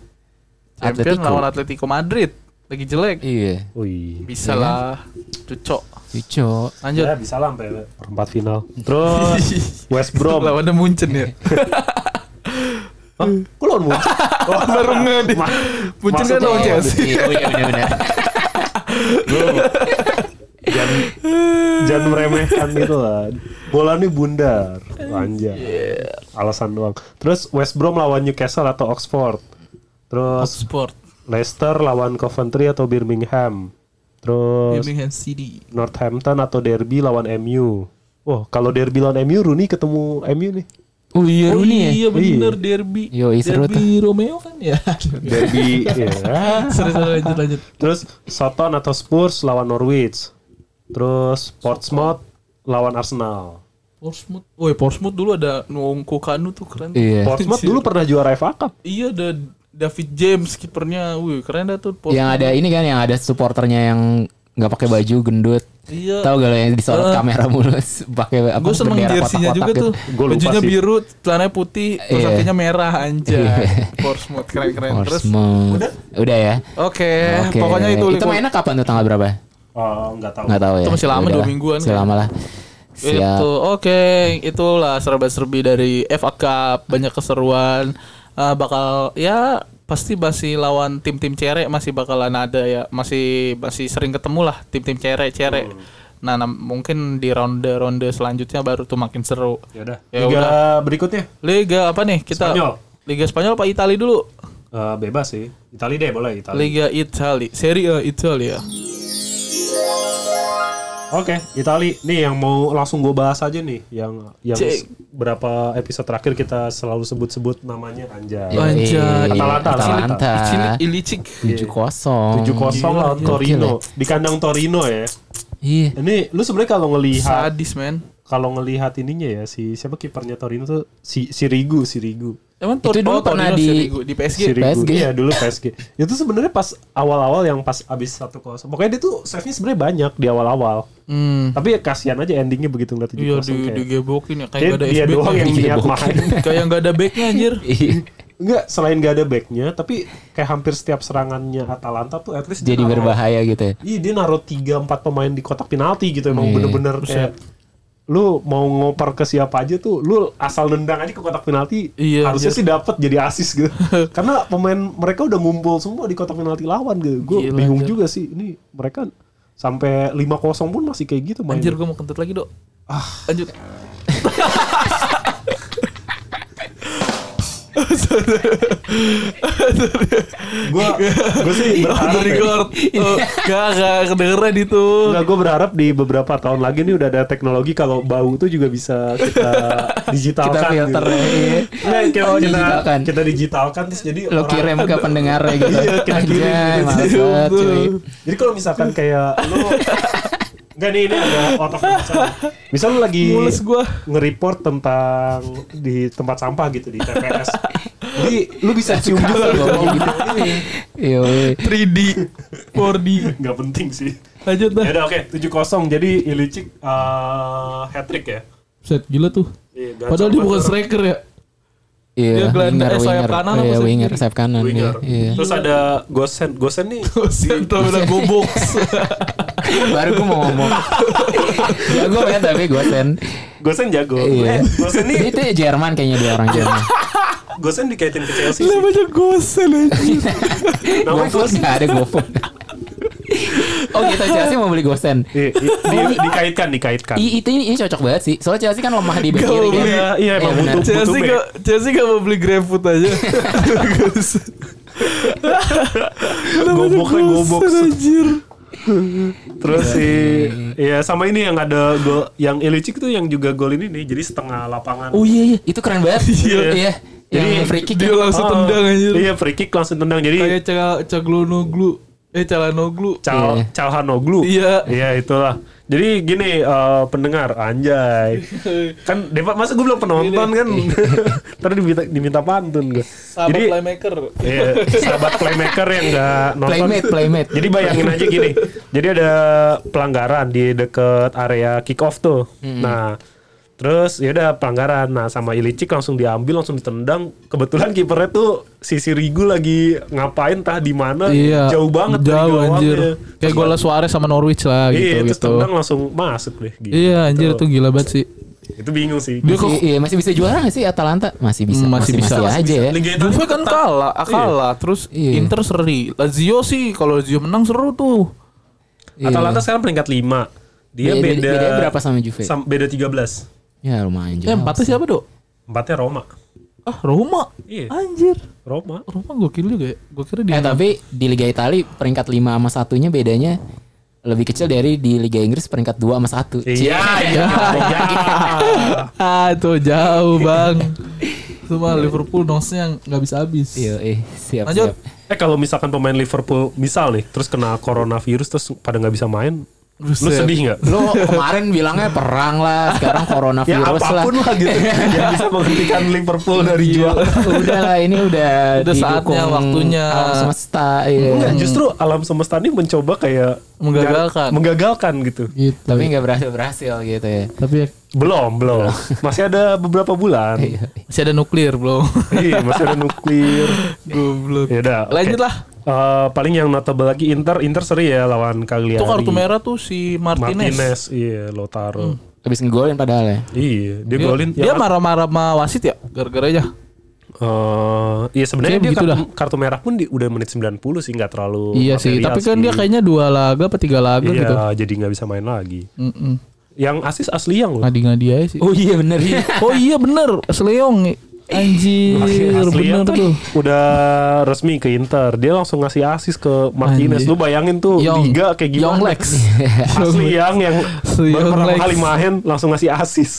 Champion
Atletico.
lawan Atletico Madrid lagi jelek.
Iya.
Wih.
Bisa lah, cucok.
Cucu.
Lanjut.
Ya bisa lah sampai perempat final. Terus West Brom. Hah?
Lawannya Munchen ya.
Kok lawan Munchen? Oh,
Baru nge di- Munchen kan lawan Chelsea.
Iya iya, bener-bener.
jangan, jangan meremehkan gitu lah. Bola nih bundar. Anjay. Alasan doang. Terus West Brom lawan Newcastle atau Oxford. Terus
Sport.
Leicester lawan Coventry atau Birmingham. Terus
Birmingham City.
Northampton atau Derby lawan MU. Wah, kalau Derby lawan MU Rooney ketemu MU nih.
Oh iya
Oh
Rooney ya.
iya bener derby.
Yoi, seru
derby Romeo kan ya.
Derby ya.
Seru seru lanjut lanjut.
Terus Soton atau Spurs lawan Norwich. Terus Portsmouth lawan Arsenal.
Portsmouth. Woi, Portsmouth dulu ada Nungko Kanu tuh keren.
Iya.
Portsmouth dulu pernah juara FA Cup.
Iya ada David James kipernya. Wih, keren dah tuh Portsmouth.
Yang ada ini kan yang ada supporternya yang nggak pakai baju gendut.
Iya.
Tahu gak lo yang disorot
Eh.
kamera mulus pakai apa?
Gue seneng
bendera
jersinya
kotak-kotak
juga
gitu.
tuh.
Gua lupa
Bajunya
sih.
biru, celananya putih, terus
Iya.
kakinya merah anjay. Portsmouth keren-keren terus.
Portsmouth. Udah ya.
Oke,
Oke.
pokoknya itu
Itu
Liverpool.
mainnya kapan tuh tanggal berapa?
Oh, nggak tahu.
Nggak tahu ya.
Itu masih lama,
Ya
dua
udahlah.
mingguan
Masih
kan?
lama lah. Siap.
Itu oke, itulah serba-serbi dari FA Cup, banyak keseruan. Eh, bakal ya pasti masih lawan tim-tim cerek masih bakalan ada ya, masih masih sering ketemu lah tim-tim cerek-cerek.
Hmm.
Nah, nam- mungkin di ronde-ronde selanjutnya baru tuh makin seru.
Yaudah.
Ya
Liga
udah.
berikutnya
Liga apa nih kita?
Spanyol.
Liga Spanyol apa Italia dulu?
Eh, bebas sih. Itali deh boleh Itali.
Liga Italia, Serie A Italia.
Oke, Itali. Nih yang mau langsung gue bahas aja nih yang yang
Cek.
s- berapa episode terakhir kita selalu sebut-sebut namanya Anjay.
Iya. Anjay.
Yoi,
Atalanta,
Atalanta.
Icili- Ilicic.
7-0.
7-0 lawan
Gokil
Torino di kandang Torino ya.
ya. Iya.
Ini lu sebenarnya kalau ngelihat
Sadis, men.
kalau ngelihat ininya ya si siapa kipernya Torino tuh si Sirigu Sirigu.
Emang
Itu
Tor-
dulu
oh, Torino
pernah
Serie
di-
A, di PSG.
Sirigu
PSG.
iya dulu PSG. Itu sebenarnya pas awal-awal yang pas abis 1-0. Pokoknya dia tuh save-nya sebenarnya banyak di awal-awal.
Hmm.
Tapi ya kasihan aja endingnya begitu ngeliat 7-0
Iya di
kayak-
digebokin ya kayak gitu. gak
Dia,
ada
dia
SBK.
doang yang niat main.
kayak gak ada backnya anjir.
Iya.
Enggak, selain gak ada backnya, tapi kayak hampir setiap serangannya Atalanta tuh at least dia
Jadi
naruh-
berbahaya gitu ya.
Iya, dia naruh 3-4 pemain di kotak penalti gitu. Emang
Iya.
bener-bener kayak lu mau ngoper ke siapa aja tuh lu asal nendang aja ke kotak penalti
Iya,
harusnya
anjir.
sih dapat jadi asis gitu karena pemain mereka udah ngumpul semua di kotak penalti lawan gitu gue
Gila,
bingung
anjir.
juga sih ini mereka sampai 5-0 pun masih kayak gitu main
Anjir gue mau kentut lagi, Dok. Ah, lanjut.
gue gue sih berharap
Under
ya.
record. Oh, Gak, gak kedengeran itu.
Enggak, gue berharap di beberapa tahun lagi nih udah ada teknologi kalau bau tuh juga bisa kita digitalkan.
Kita filter,
gitu.
iya.
Nggak, kita,
Oh,
kita,
digitalkan.
kita digitalkan terus jadi
Lo
orang-
kirim ke pendengarnya gitu.
Iya, kita kirim
Anjay,
gitu.
males banget, cuy.
Hmm.
Jadi kalau misalkan kayak lu Enggak nih ini ada out of control. Misal lu lagi
Mules gua.
nge-report tentang di tempat sampah gitu di TPS. Jadi lu bisa cium juga bau gitu.
Iya, weh.
3D, 4D.
Enggak penting sih.
Lanjut dah.
Ya udah oke, 7-0. Jadi Ilicic eh hat trick ya.
Set gila tuh.
Iya, gacor
Padahal dia bukan
banget.
striker ya.
Iya,
Dia gelandang,
winger,
eh, sayap
winger.
kanan apa
Iya,
sayap
winger,
kiri?
sayap kanan. iya.
Winger.
Iya.
Terus ada Gosen. Gosen nih.
Sentau udah gobok.
Baru gue mau ngomong. ya gue liat tapi gue sen.
Gosen jago.
Iya.
Eh, Gosen nih.
Dia itu Jerman kayaknya dia
Iya.
orang Jerman.
Gosen dikaitin ke Chelsea.
Lah
sih.
banyak gosel anjir.
Namanya
GoFood
Gosen.
nggak ada GoFood. oh kita Chelsea mau beli Gosen.
Iya, iya. Di- dikaitkan, dikaitkan.
I, itu ini, ini cocok banget sih. Soalnya Chelsea kan lemah di back
Gak
kiri kan.
boleh.
Iya, emang
Iya, benar.
butuh butuh
Chelsea
back.
gak, Chelsea gak mau beli GrabFood aja.
Goboknya gobok.
Gosel, anjir.
Terus
Iya,
si ya sama ini yang ada gol yang Ilicic tuh yang juga gol ini nih. Jadi setengah lapangan.
Oh iya iya, itu keren banget.
Iya.
Iya. Yang
Jadi,
free kick.
Dia
ya.
iya, langsung
Ah,
tendang anjir.
Iya, free kick langsung tendang. Jadi
kayak cagla caglonoglu eh calanoglu
Cal
Iya.
Calhanoglu.
Iya.
Iya itulah. Jadi gini eh, pendengar anjay. Kan Depa masa gue belum penonton kan. Ntar diminta, diminta pantun gue.
sahabat
Jadi
playmaker
iya, sahabat playmaker yang nggak nonton.
Playmate, playmate.
Jadi bayangin aja gini. Jadi ada pelanggaran di deket area kick off tuh. Nah, terus ya udah pelanggaran. Nah, sama Ilicic langsung diambil, langsung ditendang. Kebetulan kipernya tuh sisi Rigu lagi ngapain tah di mana? Iya. Jauh banget dari
Iya. jauh
gawangnya.
anjir kayak
Terus
gol Suarez sama Norwich lah
iya,
gitu
terus
gitu
tendang langsung masuk deh. Gitu.
iya anjir itu gila banget sih
Itu bingung sih.
dia kok
Masih, iya, masih bisa juara gak sih Atalanta? Masih bisa.
Hmm, masih bisa.
Iya
aja ya.
Liga Italia
Juve kan
tetap-
kalah, ah, kalah. Terus
Iya.
Inter seri. Lazio sih kalau Lazio menang seru tuh.
Iya.
Atalanta sekarang peringkat 5. Dia
Beda-
beda,
bedanya berapa sama Juve?
sam- beda 13.
Ya lumayan
Eh,
jauh.
empatnya siapa, Dok?
Empatnya Roma.
Ah, Roma.
Iya.
Anjir.
Roma.
Roma gokil juga ya. Gua kira dia.
Eh tapi di Liga Italia peringkat 5 sama satunya bedanya lebih kecil dari di Liga Inggris peringkat 2 sama 1.
Iya, iya.
Ah, itu jauh, Bang. Cuma Liverpool nose-nya nggak bisa habis.
Iya, eh, siap
Lanjut.
siap.
Eh kalau misalkan pemain Liverpool misal nih terus kena coronavirus terus pada nggak bisa main, lu
Buset.
sedih nggak?
Lo kemarin bilangnya perang lah, sekarang
Ya
coronavirus lah. Iya,
apapun lah gitu yang bisa menghentikan Liverpool dari juara.
udah lah ini udah,
Udah
didukung
saatnya, waktunya.
alam semesta iya.
Enggak, justru alam semesta ini mencoba kayak
Menggagalkan.
menggagalkan gitu.
Gitu.
Tapi nggak berhasil berhasil gitu ya.
Tapi ya
Belum, belum. Masih ada beberapa bulan.
masih ada nuklir belum?
Iya, masih ada nuklir.
Goblok.
Ya udah. oke.
Lanjut lah.
Eh, paling yang notable lagi Inter, Inter seri ya lawan Cagliari.
Itu kartu merah tuh si Martinez.
Martinez, iya Lautaro.
Habis ngegolin padahal ya.
Iya, dia
Dia,
golin.
dia
ya kan?
marah-marah sama wasit ya gara-garanya.
Eh, iya sebenarnya
Kayak
dia
begitu
kartu, kartu merah pun di, udah menit 90 sih nggak terlalu
Iya sih,
material
tapi kan
sih.
dia kayaknya dua laga apa tiga laga
Iya,
gitu.
jadi nggak bisa main lagi.
Mm-mm.
Yang asis asli yang loh.
Ngadi-ngadi aja sih.
Oh iya bener iya.
Oh iya bener, Sleong. Anjir, bener
Aslian tuh
tuh.
udah resmi ke Inter. Dia langsung ngasih asis ke Martinez.
Anjir.
Lu bayangin tuh
Young-
liga kayak gimana.
Young Lex.
Asli ya. yang yang
Si
baru
Young
pertama
Lex.
kali main langsung ngasih asis.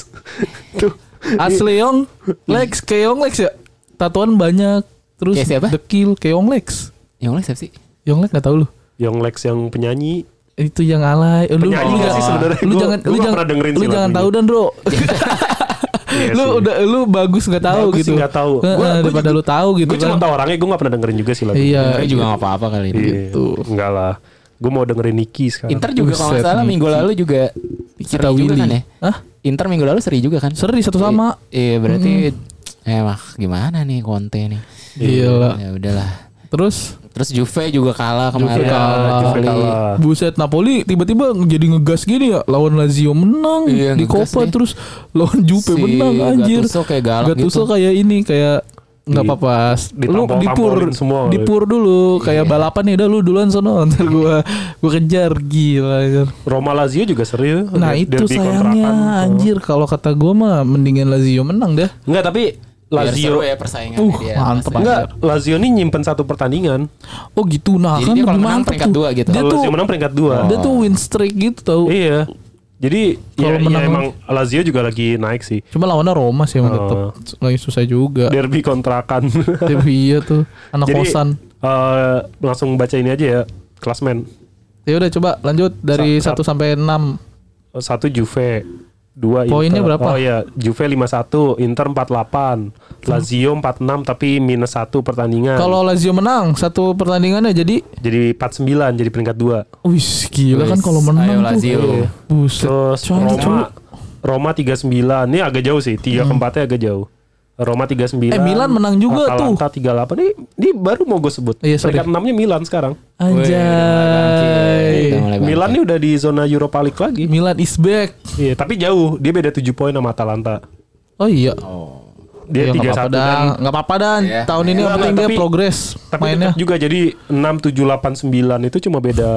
tuh.
Asli Yong Lex Keong Lex ya Tatuan banyak Terus
Kayak siapa?
Dekil Keong Lex
Yang oleh siapa Ya, sih?
Yong Lex gak tau lu
Young Lex yang penyanyi.
Itu yang alay Eh, Lu,
Penyanyi nggak sih sebenarnya?
lu
Gua-
jangan Lu
gua nggak
jangan
pernah dengerin
Lu
sih
jangan
lagunya.
tahu dan bro
Iya
Lu
sih.
udah Lu bagus gak tahu
Bagus sih
gitu
nggak tahu.
Heeh,
Gua- gua
Daripada
juga-
lu tahu gitu
Gue cuma
kan
tahu orangnya, gue gak pernah dengerin juga sih lagu.
Iya gitu.
Inter juga gak apa-apa kali ini.
Iya. Enggak lah. Gue mau dengerin Niki sekarang.
Inter juga kalau nggak
Buset,
salah
nih.
minggu lalu juga
Kita
seri juga
Willy
kan ya.
Hah?
Inter minggu lalu seri juga kan?
Seri satu sama
I- Iya berarti eh wah gimana nih Conte nih?
Iya.
Gila
Ya udahlah.
Iya. Terus
Terus Juve juga kalah kemarin.
Juve kalah, Juve kalah.
Buset Napoli tiba-tiba jadi ngegas gini ya lawan Lazio menang
Iya,
di
ngegas
Copa
nih.
terus lawan Juve
Si
menang anjir.
Gattuso kayak galak
Gattuso
gitu.
kayak ini kayak nggak
Di-
apa-apa. Lu
ditampol-tampolin
dipur
semua. gitu. Iya.
dipur dulu kayak balapan nih dah lu duluan sono ntar gua gua kejar gila. anjir.
Roma Lazio juga serius.
Nah itu sayangnya anjir kalau kata gua mah mendingan Lazio menang dah.
Enggak, tapi
Biar seru
Lazio
ya persaingan
Uh, mantep banget.
Enggak.
Enggak, Lazio ini nyimpen satu pertandingan.
Oh gitu nah
Jadi
kan
dia kalau
lebih
menang
mantep
peringkat
tuh.
dua gitu.
Dia
Kalau
tuh
Lazio Oh, menang peringkat 2.
dia tuh win streak gitu tau.
Iya. Jadi
Kalau
ya, ya
menang-
emang Lazio juga lagi naik sih.
Cuma lawannya Roma sih emang
Oh.
tetep lagi susah juga.
Derby kontrakan.
Tapi iya tuh anak
Jadi
kosan.
eh, langsung baca ini aja ya klasmen.
Ya udah coba lanjut dari
Sa-
1
Nah.
sampai 6.
Satu Juve, dua
Poinnya
Inter.
berapa?
Oh iya, Juve 51, Inter 48, Lazio 46 tapi minus satu pertandingan.
Kalau Lazio menang satu pertandingannya jadi
jadi 49 jadi peringkat 2.
wih gila kan kalau menang
ayo
tuh. Iya.
Lazio.
Buset.
Terus
Cuman-
Roma Roma 39. Ini agak jauh sih, 3 keempatnya agak jauh. Roma 39.
Hmm. Eh, Milan menang juga tuh.
Atalanta 38. Ini, ini baru mau gue sebut.
Iya, sorry.
peringkat 6-nya Milan sekarang.
Anjay.
Udah
Eh,
mulai bangkit.
Milan ini udah di zona Europa League lagi.
Milan is back.
Iya, tapi jauh. Dia beda 7 poin sama Atalanta.
Oh iya.
Dia
Ya,
kan.
nggak
31
apa-apa dan
dan
nggak apa-apa dan
Iya.
tahun ini yang
Nggak,
penting dia
tapi-
progres
tapi
mainnya.
deket juga jadi 6 7 8 9 itu cuma beda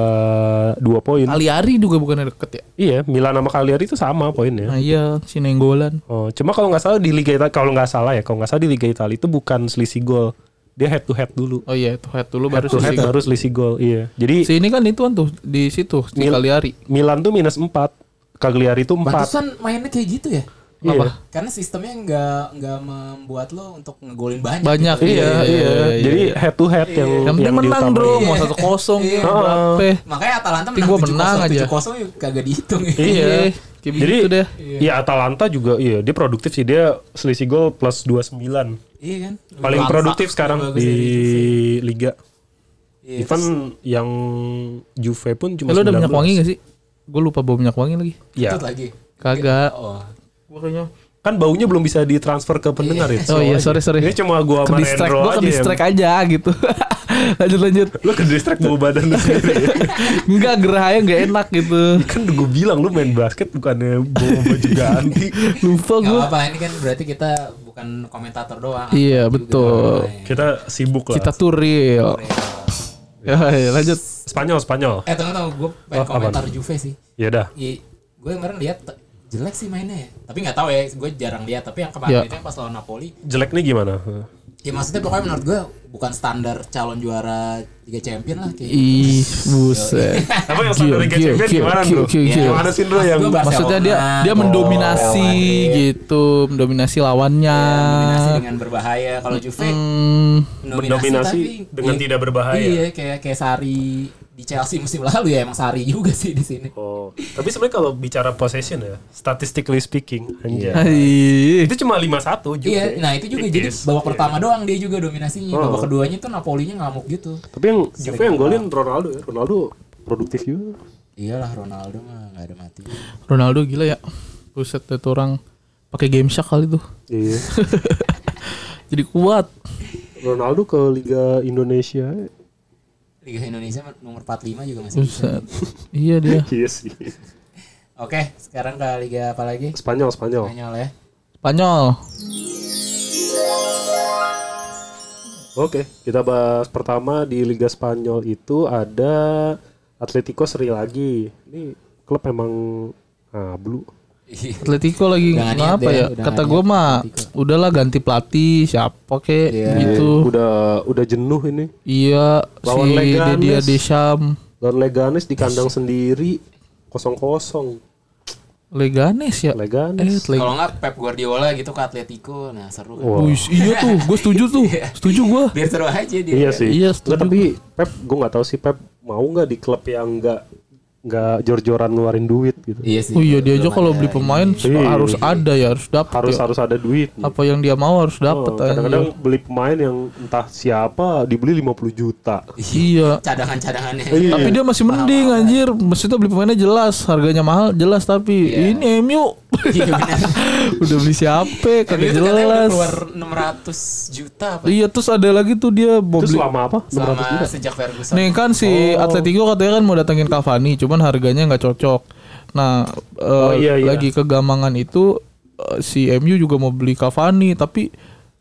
2 poin.
Aliari juga bukannya deket ya.
Iya, Milan sama Cagliari itu sama poinnya.
Nah iya si Nenggolan.
Oh, cuma kalau nggak salah di Liga Italia kalau nggak salah ya, kalau nggak salah di Liga Italia itu bukan selisih gol. Dia head to head dulu.
Oh iya itu head dulu baru
Head to head
si
baru selisih gol. Iya. Jadi
Si ini kan itu tuh di situ di
Mil-
Kaliari.
Milan tuh minus 4, Cagliari tuh 4.
Pantesan mainnya kayak gitu ya.
Iya.
Apa?
Karena sistemnya nggak nggak membuat lo untuk ngegolin banyak.
Banyak
Iya, iya,
iya.
Jadi head to head yang
Yang penting menang
diutamain.
bro Mau
Iya.
satu kosong ya,
Iya.
Berapa
Makanya Atalanta
Tapi gua menang aja.
7-0 juga kagak dihitung ya.
Iya.
Iya, kayak
Jadi
begitu deh.
ya Atalanta juga iya, dia produktif sih. Dia selisih gol plus 29.
Iya kan?
Paling
Bagus.
produktif sekarang
Bagus
ya,
di
dari
gitu
liga.
Iya,
Even yang Juve pun cuma
Eh, Lu udah minyak
19.
wangi gak sih? Gue lupa bawa minyak wangi lagi
Iya.
Ikut lagi.
Kagak
Oh.
Gua kayaknya
Kan baunya belum bisa ditransfer ke pendengar ya.
Oh iya sorry sorry
Ini cuma gua
Ke
sama
distract
Rendro
Gue
aja
ke distract
yang-
aja gitu Lanjut lanjut
Lu ke distract bawa badan lu sendiri ya?
Enggak gerahnya gak enak gitu
Kan gue bilang lu main basket bukannya bawa baju ganti
Lupa
Gak
gue
apa-apa ini kan berarti kita bukan komentator doang.
Iya betul
Kita sibuk lah
Kita tuh real
Iya.
Ya ya, lanjut
Spanyol, Spanyol Ya
Eh tunggu-tunggu gue
Oh,
pengen
apaan?
komentar Juve sih.
Yaudah
Iya, gue kemarin lihat t- jelek sih mainnya ya. Tapi nggak tahu ya, gue jarang lihat. Tapi yang kemarin
Iya.
itu yang pas lawan Napoli,
Jelek nih gimana?
ya maksudnya pokoknya menurut gue bukan standar calon juara Liga Champion lah kayak. gitu.
Ih buset
Apa yang standar
Gil,
Liga
gil,
Champion
gil,
gimana
gil,
bro?
gil, gil.
Gimana sih bro
Maksud
yang
gua Barcelona,
Maksudnya dia dia
Oh, Real
mendominasi
Madrid,
gitu, mendominasi lawannya.
ya, mendominasi dengan berbahaya. Kalau Juve
Hmm,
mendominasi
tapi-
dengan
iya,
tidak berbahaya?
Iya, kayak kayak Sari di Chelsea musim lalu ya emang Sari juga sih di sini.
Oh, tapi sebenarnya kalau bicara possession ya, statistically speaking, anjir.
Hai.
Itu cuma 5-1 juga.
Iya, nah itu juga jadi babak
Iya.
pertama doang dia juga dominasinya.
Oh.
Babak keduanya tuh Napolinya ngamuk gitu.
Tapi yang Juve yang golin Ronaldo ya, Ronaldo produktif juga.
Iyalah Ronaldo mah nggak ada mati.
Ronaldo gila ya. Buset itu orang pakai game shock kali tuh.
Iya.
Jadi kuat.
Ronaldo ke Liga Indonesia.
Liga Indonesia nomor 45 juga masih
Buset.
bisa.
iya dia.
Iya sih.
Oke, sekarang ke liga apa lagi?
Spanyol Spanyol
Spanyol ya.
Spanyol.
Oke, kita bahas pertama di Liga Spanyol itu ada Atletico Seri lagi. Ini klub emang ah, blue.
Atletico lagi
Udah nggak
kenapa
niat deh,
ya?
udah
Kata
nggak
gue mah udahlah ganti pelatih siapa kek
Iya.
gitu.
Udah udah jenuh ini.
Iya,
Lawan
si
Leganes.
Dedia Desham
Lawan Leganes di kandang sendiri kosong-kosong.
Leganes ya. Eh,
Leganes.
Leg-
Kalau nggak Pep Guardiola gitu ke Atletico, nah seru. kan.
Wah.
Wih, iya tuh, gue setuju tuh,
Iya.
setuju gue.
Biar seru aja dia.
Iya
kan.
sih.
Iya,
Nggak,
setuju.
tapi Pep gue nggak tahu sih Pep mau nggak di klub yang nggak nggak jor-joran ngeluarin duit gitu.
Iya sih.
Oh iya dia aja
Belum
kalau
ada
beli pemain
ini.
suka-
Iya.
harus ada ya, harus dapat.
Harus
ya.
harus ada duit. gitu.
Apa yang dia mau harus dapat.
Oh, kadang-kadang beli pemain yang entah siapa dibeli 50 juta.
Iya.
Cadangan-cadangannya.
Oh iya.
Tapi dia masih mending anjir. Maksudnya beli pemainnya jelas, harganya mahal jelas tapi ini MU
Iya benar.
udah beli siapa
Tapi
kagak
itu katanya udah
jelas.
keluar 600 juta apa?
Iya terus ada lagi tuh dia mau
Itu
beli
selama apa? 600
Selama
juta.
sejak Ferguson.
Nih kan si
Oh.
Atletico katanya kan mau datengin Cavani, cuman harganya nggak cocok. Nah, eh,
iya, iya.
lagi kegamangan itu eh, si MU juga mau beli Cavani, tapi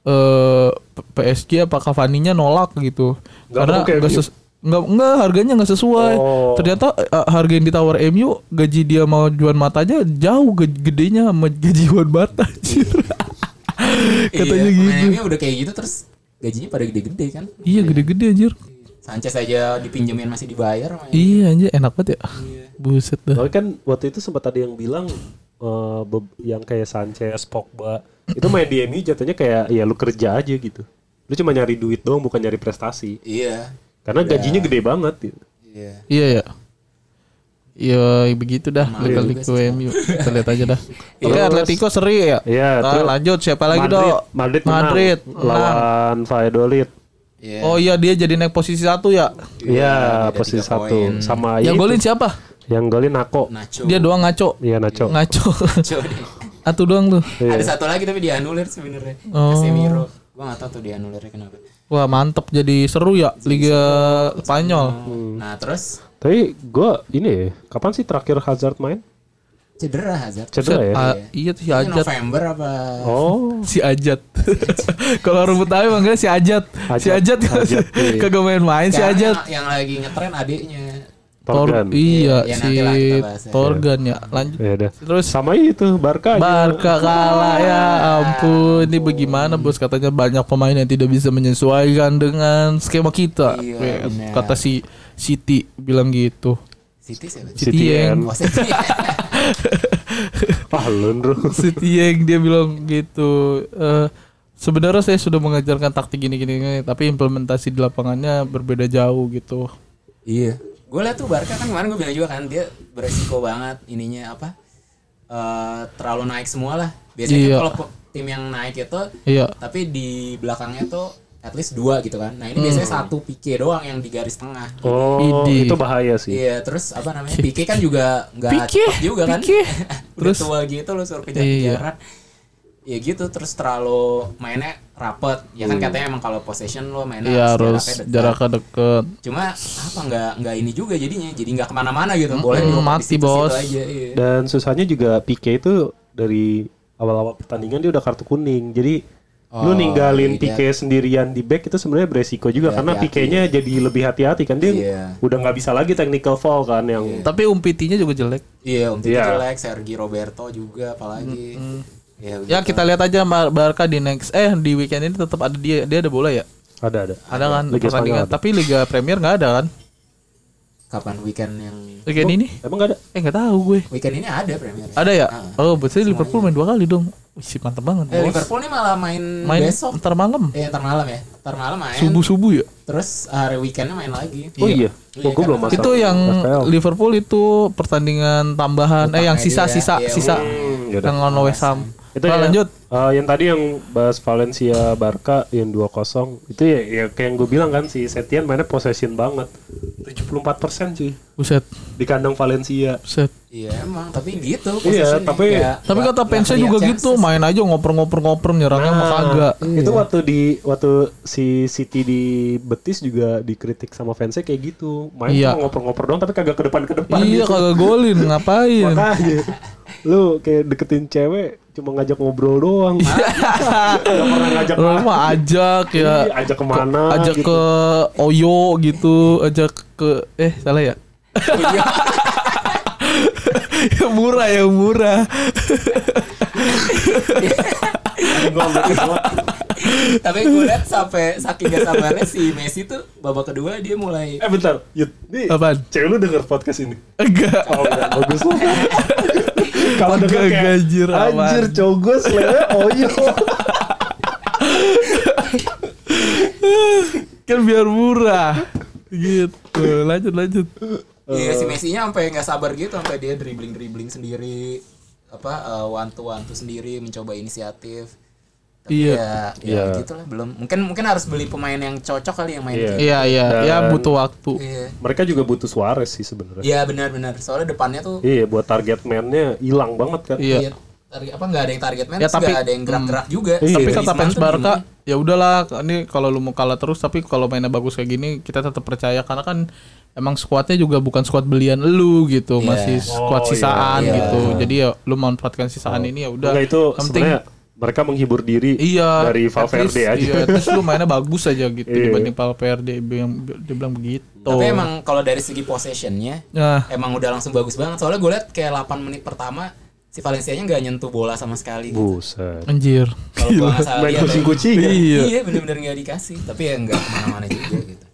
eh, P- PSG apa Cavaninya nolak gitu.
Nggak
Karena
mau ke
nggak
MU?
ses- nggak nggak, harganya nggak sesuai.
Oh.
Ternyata eh, harga yang ditawar MU gaji dia mau Juan Mata aja jauh ge- gedenya sama gaji Juan Mata. anjir. Katanya
iya,
gitu.
pemainnya udah kayak gitu terus gajinya pada gede-gede kan.
Iya gede-gede anjir.
Sanchez aja dipinjemin masih dibayar sama
Iya anjir enak banget ya. Buset dah.
Tapi kan waktu itu sempat ada yang bilang eh, be- yang kayak Sanchez, Pogba itu main di MU jatuhnya kayak ya lu kerja aja gitu. Lu cuma nyari duit doang bukan nyari prestasi.
Iya.
Karena gajinya
Ya.
gede banget gitu.
Iya.
Iya ya. Iya begitu dah kali ke MU. Kita lihat aja dah. Oke
Terus-
Atletico seri ya.
Iya,
Nah,
terus-
lanjut siapa lagi
Madrid,
dong?
Madrid, menang
Madrid. Nah. menang.
lawan Valladolid.
Iya.
Oh iya dia jadi naik posisi satu ya.
Iya, posisi satu sama
Yang
itu.
golin siapa? Nah.
Yang golin Nako.
Nacho.
Dia doang ngaco.
Iya, Nacho.
Ngaco.
Nacho dia.
Atu doang tuh.
Ada satu lagi tapi dianulir sebenarnya.
Oh.
Casemiro. Gua enggak tahu tuh dianulirnya kenapa.
Wah mantep jadi seru ya Liga Spanyol.
Nah, terus
Tapi gua ini ya, kapan sih terakhir Hazard main?
cedera Hazard.
Cedera ya?
Ah, iya tuh si
Ini
Ajat.
November apa?
Oh.
Si Ajat. Kalau rumput aja manggilnya si Ajat. Si Ajat,
Ajat, Ajat, iya.
kagak main-main si
Sekarang
Ajat.
yang- Yang lagi ngetren adiknya.
Tor
Torgan.
iya
Iya,
si
nantilah kita bahas ya.
Torgan ya. Lanjut.
Ya udah.
Terus
Sama itu Barca.
Barca kalah ya ampun ini bagaimana bos katanya banyak pemain yang tidak bisa menyesuaikan dengan skema kita
Iya,
Weh,
benar.
kata si Siti bilang gitu
City siapa?
Si Tieng
Oh, City.
Ah, lu, Ndro.
si Tieng dia bilang gitu Eh, sebenarnya saya sudah mengajarkan taktik gini gini gini, tapi implementasi di lapangannya berbeda jauh gitu
Iya. Gue liat tuh Barca kan kemarin gue bilang juga kan dia beresiko banget ininya apa? eh, terlalu naik semua lah. Biasanya kan
Iya.
kalau pe- tim yang naik itu
iya
tapi di belakangnya tuh at least dua gitu kan. Nah, ini biasanya
Hmm.
satu pike doang yang di garis tengah.
Oh,
Idi.
itu bahaya sih.
Iya, terus apa namanya? Pike kan juga nggak
Pique,
cepet juga kan.
Pique.
Udah
Terus? Iya.
tua gitu lo suruh kejar-kejaran. Ya gitu terus terlalu mainnya rapet. Ya kan katanya emang kalau possession lo
Hmm.
mainnya
iya
harus
harus
jaraknya dekat.
jaraknya deket
Cuma apa nggak nggak ini juga jadinya. Jadi nggak kemana-mana gitu. Boleh
Mm-mm,
dioper di
mati,
situ-situ
bos.
aja, iya.
Dan susahnya juga Pique itu dari awal-awal pertandingan dia udah kartu kuning. Jadi lu
Oh,
ninggalin
iya.
Pique sendirian di back itu sebenarnya beresiko juga
Iya,
karena
hati-hati.
Pique-nya jadi lebih hati-hati kan dia
Iya.
udah nggak bisa lagi technical foul kan yang
tapi umpitinya juga jelek
Iya, Om Tito
Iya.
jelek, Sergi Roberto juga apalagi. Ya,
ya kita lihat aja Mar- Barca di next eh di weekend ini tetap ada dia dia ada bola ya
ada ada.
ada kan
Liga
pertandingan
Spanyol ada.
tapi Liga Premier nggak ada kan
kapan weekend yang
weekend ini
Emang gak ada?
eh nggak tahu gue
Weekend ini ada Premier.
ada ya oh
Ah.
berarti Liverpool main dua kali dong Wih, sih mantep banget
Eh,
bos.
Liverpool ini malah main,
main
besok.
ntar malam
Eh, ntar malam ya. Ntar malam main.
subuh subuh ya
Terus hari weekendnya main lagi.
Oh iya. Oh, gua belum masak.
itu yang
FPL.
Liverpool itu pertandingan tambahan eh yang sisa
Utangnya dia,
sisa
iya,
sisa
Hmm, yaudah.
yang lawan West Ham
Itu
Nah,
ya,
lanjut
eh, yang tadi yang bahas Valencia Barca yang 2-0 itu ya, ya kayak yang gue bilang kan si Setian mainnya possession banget. 74% cuy
Buset,
di kandang Valencia.
buset.
Iya emang tapi gitu.
Iya,
posisinya.
tapi-
Nggak-
Tapi
nggak-
kata
nggak
fansnya juga
kelihatan
gitu, main aja ngoper-ngoper-ngoper nyerangnya
Nah.
mah kagak.
Itu waktu di waktu si City di Betis juga dikritik sama fansnya kayak gitu. Main
Iya.
cuma ngoper-ngoper doang tapi kagak ke depan ke depan.
Iya
gitu.
kagak Iya. golin, ngapain?
Makanya lu kayak deketin cewek cuma ngajak ngobrol doang. Gak pernah ngajak
Lu mah ajak
Iya,
ya.
ajak kemana
ajak
gitu.
ke Oyo gitu, ajak ke eh salah ya?
Iya.
yang murah yang murah.
Gua ambil ketua.
Tapi gue liat sampai saking gak sabarnya si Messi tuh babak kedua dia mulai
Eh bentar, Yud. Nih,
Apaan?
cewek lu denger podcast ini?
Enggak.
Oh, enggak, bagus lah. Kalau denger
Enggak,
kayak,
anjir, aman.
anjir, cowok oh, gue selera oyo.
Kan biar murah. Gitu. Lanjut lanjut.
Iya
Eh,
si Messi-nya sampai nggak sabar gitu sampai dia dribbling dribbling sendiri apa one to one tuh sendiri mencoba inisiatif. Tapi
Iya.
ya, ya gitulah belum. Mungkin mungkin harus beli pemain yang cocok kali yang main.
Iya.
gitu.
Iya iya, ya
Dan-
butuh waktu.
Iya.
Mereka juga butuh Suarez sih sebenarnya.
Iya benar-benar. Soalnya depannya tuh
Iya, buat target man-nya hilang banget kan.
Iya.
lihat target apa nggak ada yang target man,
Ya,
terus
tapi- Iya.
nggak ada yang gerak-gerak juga.
Iya.
Tapi
Si
kata
Griezmann
fans
tuh
Barca,
gimana?
ya udahlah, ini kalau lu mau kalah terus tapi kalau mainnya bagus kayak gini kita tetap percaya karena kan emang skuadnya juga bukan skuad belian lu gitu,
Iya.
masih skuad
Oh,
sisaan
iya.
gitu. Jadi ya lu manfaatkan sisaan ini ya udah.
Enggak itu
Yang penting
sebenarnya mereka menghibur diri
iya
dari
at
Valverde
least,
aja.
Iya, terus lu mainnya bagus aja gitu
Iya.
dibanding Valverde yang dibilang begitu.
Tapi emang kalau dari segi possessionnya
Nah,
emang udah langsung bagus banget. Soalnya gue liat kayak 8 menit pertama si Valencia-nya nggak nyentuh bola sama sekali. Gitu.
Buset.
anjir.
Kalau gue nggak salah
Main
lihat ya.
kucing-kucing. ya?
Iya.
Iya bener-bener nggak dikasih. Tapi ya nggak kemana-mana juga gitu.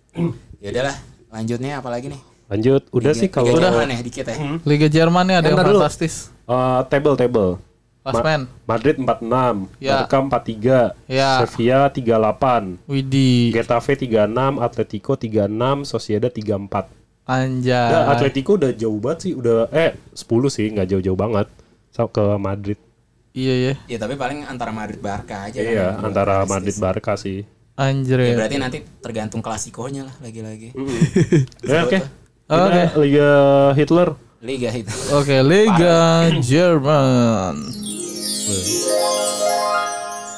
Ya udahlah. Lanjutnya apa lagi nih?
Lanjut, udah sih kalau
udah ya dikit ya.
Liga Jerman nih ada yang
Ntar dulu.
fantastis.
Eh, table table.
Last man.
Madrid 46,
Ya.
Barca 43,
Ya.
Sevilla 38,
Widi
Getafe 36, Atletico 36, Sociedad 34. Ya,
Anjay.
Atletico udah jauh banget sih, udah eh 10 sih, nggak jauh-jauh banget Sa- ke Madrid.
Iya ya.
Ya tapi paling antara Madrid Barca aja.
Iya,
kan.
antara Madrid Barca sih.
Anjir.
Ya
ya.
berarti nanti tergantung klasikonya lah lagi-lagi.
Ya, oke.
Oh, Oke.
Kita Liga Hitler.
Liga itu.
Oke, Liga Jerman.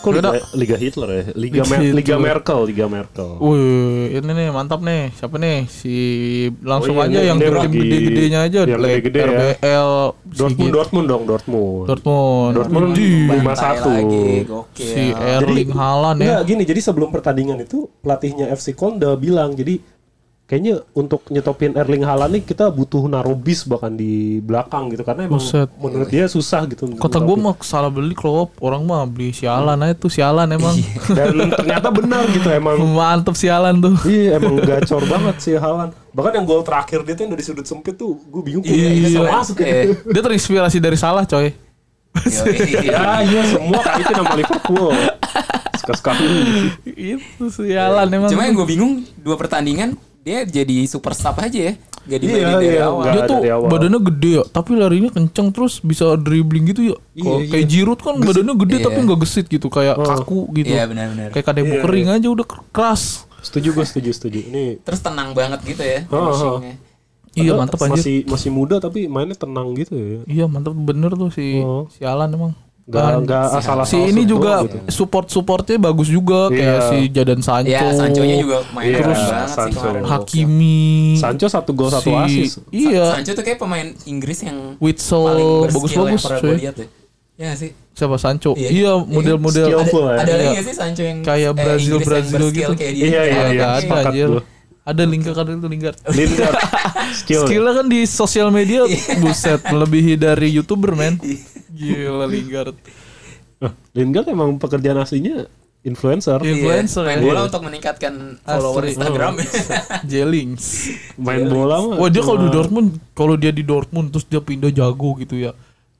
Kok Liga,
Yaudah.
Liga Hitler ya? Liga,
Liga
Mer- Liga
Hitler. Uh,
Merkel, Liga Merkel.
Wih, ini nih mantap nih. Siapa nih? Si langsung
Oh iya,
aja
ini
yang
dia
tim
lagi-
gede-gedenya aja.
yang
Like
gede-gede ya.
RBL,
Dortmund,
si-
Dortmund dong, Dortmund.
Dortmund.
Dortmund
Di,
Bantai
5-1.
lagi, gokil.
si Erling Haaland ya.
Nggak, gini, jadi sebelum pertandingan itu pelatihnya FC Köln udah bilang, jadi kayaknya untuk nyetopin Erling Haaland nih kita butuh naruh bis bahkan di belakang gitu karena emang
Buset.
menurut dia susah gitu. untuk
Kota gue
nyetopin.
mah salah beli klop, orang mah beli sialan aja tuh sialan emang.
Iya.
dan ternyata benar gitu emang
Mantep sialan tuh.
Iya emang gacor banget sih Halan. Bahkan yang gol terakhir dia tuh yang dari sudut sempit tuh gue bingung
Iya,
kok bisa
iya.
masuk ya.
Eh.
Dia terinspirasi dari salah coy.
Yoi.
Ya iya semua kan itu nama Liverpool. Suka sekali.
Itu sialan emang.
Iya. Cuma yang gue bingung dua pertandingan dia jadi super sub aja ya. Gak dibeli
Iya,
dari
iya,
awal.
enggak.
dia tuh
dari awal.
badannya gede ya, tapi larinya kenceng terus bisa dribbling gitu ya.
Iya,
Kalau kayak Giroud kan badannya gede tapi nggak gesit gitu, kayak
Oh.
kaku gitu.
Iya benar-benar.
Kayak kadebo kering
iya.
aja udah keras.
Setuju gue setuju setuju. Ini
Terus tenang banget gitu ya.
Oh, oh.
finishingnya.
Iya
padahal
mantep anjir.
Masih masih muda tapi mainnya tenang gitu ya.
Iya mantep bener tuh si
Oh.
sialan emang.
Gak
Dan
gak asal
si ini juga support supportnya bagus juga kayak
gitu. Iya.
si Jadon Sancho,
Ya Sancho-nya juga main
Iya,
keren banget sih
Sancho.
kemarin.
Hakimi,
Sancho satu gol satu
si-
asis.
Iya,
Sancho tuh kayak pemain Inggris yang paling
Witsel
berskill yang
bagus-bagus
pernah gue
cuy.
lihat ya. Ya nggak sih.
Siapa Sancho?
Iya.
Iya model-model
Skill.
Ada,
Skillful ya.
ada lagi
Iya.
nggak sih Sancho yang
Kayak
eh,
Brazil-
Inggris yang
Brazil
berskill
gitu.
kayak dia?
Iya iya iya.
Kagak ada
Sepakat Iya,
anjir.
gue.
Ada lingkar kan itu lingkar.
Lingard skill.
Skillnya kan di sosial media
Iya.
buset melebihi dari youtuber men. Gila Lingard.
Nah, Lingard emang pekerjaan aslinya influencer.
Influencer ya.
Main bola untuk meningkatkan follower
Asli. Oh.
Instagram.
Jelings.
Main bola mah.
Wah Oh, dia kalau di
cuma-
Dortmund, kalau dia di Dortmund terus dia pindah jago gitu ya.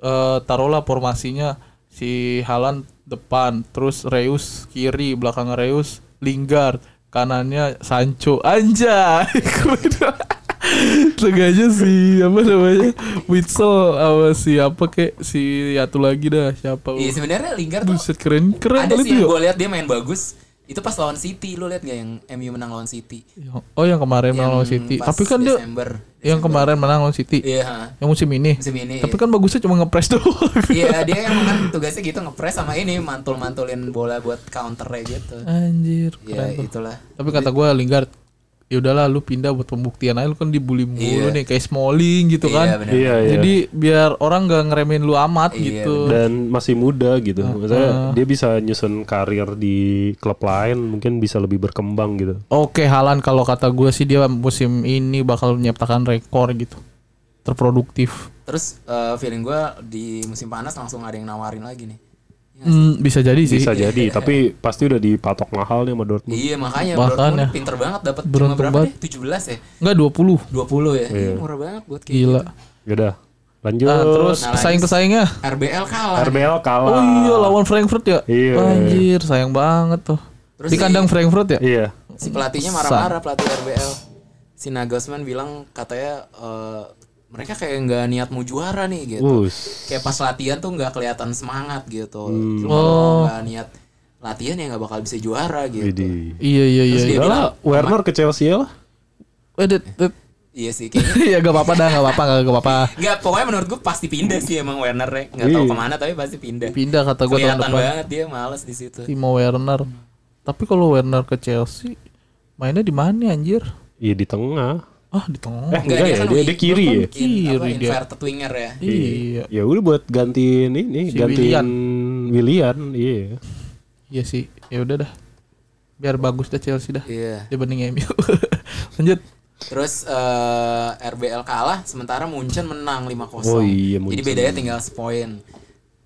Eh taruhlah formasinya si Halan depan, terus Reus kiri, belakang Reus Lingard, kanannya Sancho. Anjay. Sengaja si apa namanya Witsel sama si apa kek si satu lagi dah siapa
Iya sebenarnya Lingard tuh
Buset keren keren
ada
kali
sih
itu
yang
ya.
gue lihat dia main bagus Itu pas lawan City lu lihat nggak yang MU menang lawan City?
Oh yang kemarin menang lawan
Yang
City.
pas
Tapi kan dia
Desember.
yang kemarin menang lawan City.
Iya, ha.
Yang musim ini.
musim ini.
Tapi kan bagusnya cuma ngepres doang.
Iya, dia emang kan tugasnya gitu ngepres sama ini mantul-mantulin bola buat counter gitu.
Anjir, keren
Ya
tuh.
itulah.
Tapi kata gue Lingard, ya udahlah lu pindah buat pembuktian aja lu kan dibully mulu nih kayak Smalling gitu kan.
Iya benar.
Iya, iya.
Jadi biar orang gak ngeremehin lu amat gitu.
dan masih muda gitu.
Ah,
Maksudnya dia bisa nyusun karir di klub lain, mungkin bisa lebih berkembang gitu.
Oke, Halan kalau kata gue sih dia musim ini bakal menciptakan rekor gitu. Terproduktif.
Terus eh, feeling gua di musim panas langsung ada yang nawarin lagi nih. Iya,
Hmm, bisa jadi sih.
Bisa jadi, tapi pasti udah dipatok mahal nih sama Dortmund.
Iya makanya
Bahkan
Dortmund
ya.
pinter banget dapat
Beruntung
berapa
banget.
deh? 17 ya?
Enggak 20.
20 ya. Iya, murah banget buat kayak
Gila.
Yaudah, Ya lanjut.
Nah, terus
Nah,
pesaing-pesaingnya.
RBL kalah.
RBL kalah.
Oh iya lawan Frankfurt ya?
Iya.
Anjir, sayang banget tuh.
Terus
Di
si-
kandang Frankfurt ya?
Iya.
Si pelatihnya marah-marah pelatih RBL. Si Nagelsmann bilang katanya eh, mereka kayak nggak niat mau juara nih gitu.
Us.
Kayak pas latihan tuh nggak kelihatan semangat gitu.
Hmm.
Lu kalau nggak niat latihan ya nggak bakal bisa juara gitu.
Widih.
Iya iya iya.
Terus dia
Udah lah,
bilang,
Werner ke Chelsea lah.
Eh, det- det-
iya sih kayaknya.
Iya gak apa-apa dah, gak apa-apa, gak, gak apa-apa.
Nggak, pokoknya menurut gue pasti pindah sih emang Werner ya. Nggak tahu kemana tapi pasti pindah.
Pindah kata gue Iya. tahun
Kelihatan
depan. Iya.
banget dia males di situ.
Timo Werner. Tapi kalau Werner ke Chelsea, mainnya di mana anjir?
Iya di tengah.
Ah, di tengah.
Eh enggak, ya, dia, dia kiri ya.
kiri apa,
Kiri dia.
inverted winger ya.
iya.
Ya udah buat gantiin ini,
Si
gantiin Willian. Iya.
Iya sih. Ya udah dah. Biar bagus dah Chelsea dah.
Iya.
Dibanding MU. Lanjut.
Terus eh, RBL kalah sementara Munchen menang 5-0.
Oh iya,
Jadi
Munchen. Hmm.
bedanya tinggal sepoin.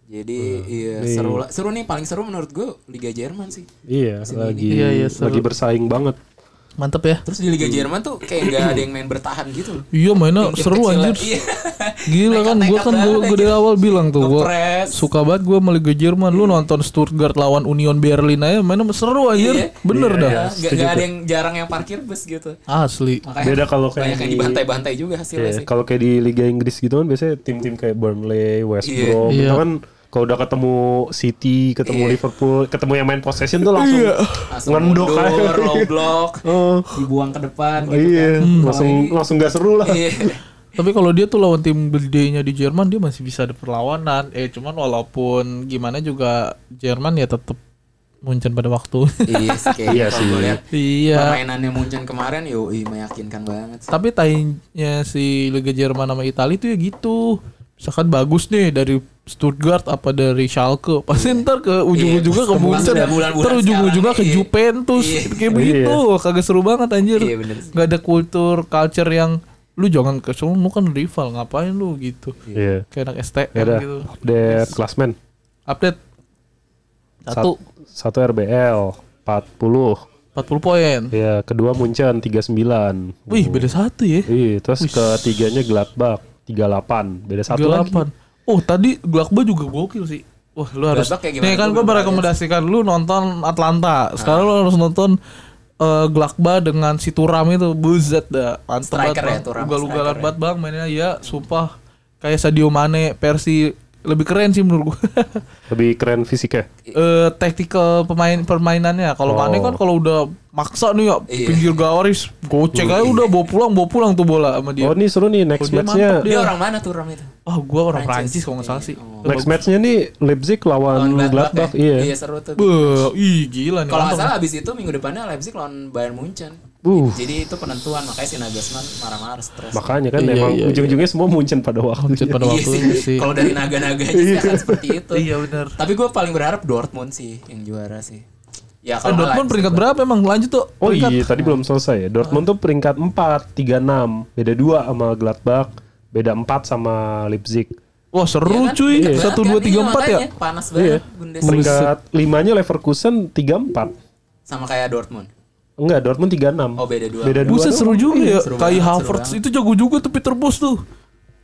Jadi iya seru lah. Seru nih paling seru menurut gue Liga Jerman sih.
Iya, lagi
Iya, iya, seru.
lagi bersaing banget.
Mantep ya.
Terus di Liga
Iya.
Jerman tuh kayak nggak ada yang main bertahan gitu. loh.
Iya
Oh,
mainnya
Tim-tim
seru
kecil lah.
anjir.
Iya.
Gila kan gua
Nekat-nekat
kan gua,
banget Iya,
gua dari
anjir. Iya.
awal bilang tuh gua
Ngepres.
suka banget gua sama Liga Jerman. Lu nonton Stuttgart lawan Union Berlin aja mainnya seru anjir.
Iya.
Bener dah.
Iya, nggak nggak ada yang jarang yang parkir bus gitu.
Asli.
Makanya
Beda kalau kayak
banyak yang
di-
dibantai-bantai juga hasilnya
Iya,
sih.
kalau kayak di Liga Inggris gitu kan biasanya tim-tim kayak Burnley, West
Iya.
Brom
Iya.
itu kan kalau udah ketemu City, ketemu
Iya.
Liverpool, ketemu yang main possession tuh langsung
Langsung
ngendok
mundur,
aja.
low block,
Oh,
dibuang ke depan gitu
iya,
kan.
Hmm.
langsung langsung gak seru lah.
Iya.
Tapi kalau dia tuh lawan tim gedenya di Jerman dia masih bisa ada perlawanan. Eh cuman walaupun gimana juga Jerman ya tetap muncul pada waktu.
Iya sih kayak
Iya
kalau gua
sih.
lihat
iya.
permainannya Munchen kemarin yo ih, meyakinkan banget sih.
Tapi tainya si Liga Jerman sama Italia itu ya gitu. Misalkan bagus nih dari Stuttgart apa dari Schalke. Pasti ntar ke ujung-ujungnya
Iya,
ke Munchen.
udah bulan-bulan
Ntar ujung-ujungnya ke
sekarang, iya.
Juventus.
Iya.
Kayak begitu. Kagak seru banget anjir.
Iya, bener sih.
Gak ada kultur, culture yang lu jangan ke sono lu kan rival ngapain lu gitu.
Iya.
Kayak anak STM
Ya udah,
gitu.
update klasmen.
Update. Satu.
Sat- satu RBL 40.
40 poin.
Ya, kedua Munchen 39.
Wih, beda satu ya.
Iya, terus ketiganya Gladbach 38. Beda satu lagi.
38. Oh, tadi Glakba juga gokil sih. Wah, lu harus.
Gladbach kayak gimana?
Nih kan
Gua
gue
belum Nah.
merekomendasikan lu nonton Atlanta. Sekarang lu harus nonton eh, Glakba dengan si Turam itu buset dah. Mantep
Striker ya,
banget.
Thuram,
Ugal-ugalan
striker ya.
banget Bang mainnya ya, sumpah kayak Sadio Mane versi lebih keren sih menurut gue.
Lebih keren fisiknya.
Eh tactical pemain permainannya. Kalau
Oh.
Mane kan kalau udah maksa nih ya
Iya.
pinggir garis, gocek aja udah bawa pulang, bawa pulang tuh bola sama dia.
Iya. Oh, ini seru nih next
Oh, dia
matchnya.
mantap dia.
Dia orang mana tuh Ram itu?
Ah, gua orang
Prancis.
Prancis kalau nggak salah sih.
Iya.
Udah
Next matchnya nih Leipzig lawan
Lawan
Gladbach,
ya?
iya.
Iya seru tuh.
Beuh, ih gila nih.
Kalau nggak
mantap.
salah abis itu minggu depannya Leipzig lawan Bayern Munchen.
Uh.
Jadi itu penentuan makanya si Nagelsmann marah-marah stres.
Makanya kan
Iya,
emang
iya,
ujung-ujungnya semua Munchen pada waktu.
Muncul pada
Iya
waktu
sih.
itu sih.
Kalau dari naga-naganya sih akan seperti itu.
Iya benar.
Tapi gue paling berharap Dortmund sih yang juara sih. Ya
Eh,
kalau nggak
Dortmund
Leipzig.
peringkat berapa emang lanjut tuh?
Oh
peringkat.
iya, tadi belum selesai ya. Dortmund tuh peringkat 4, 36. Beda 2 sama Gladbach, beda 4 sama Leipzig.
Wah
Iya
seru
kan?
cuy.
Peringkat
Satu
banget
dua
kan?
tiga
Iya,
empat ya.
makanya. Panas banget Bundesliga
Iya. Peringkat 5-nya Leverkusen 34.
sama kayak Dortmund.
Enggak, Dortmund 36.
Oh beda dua.
Beda 2.
Buset seru juga ya.
Iya, seru
Kai
banget, seru
Havertz
banget.
itu jago juga tuh Peter Bos tuh.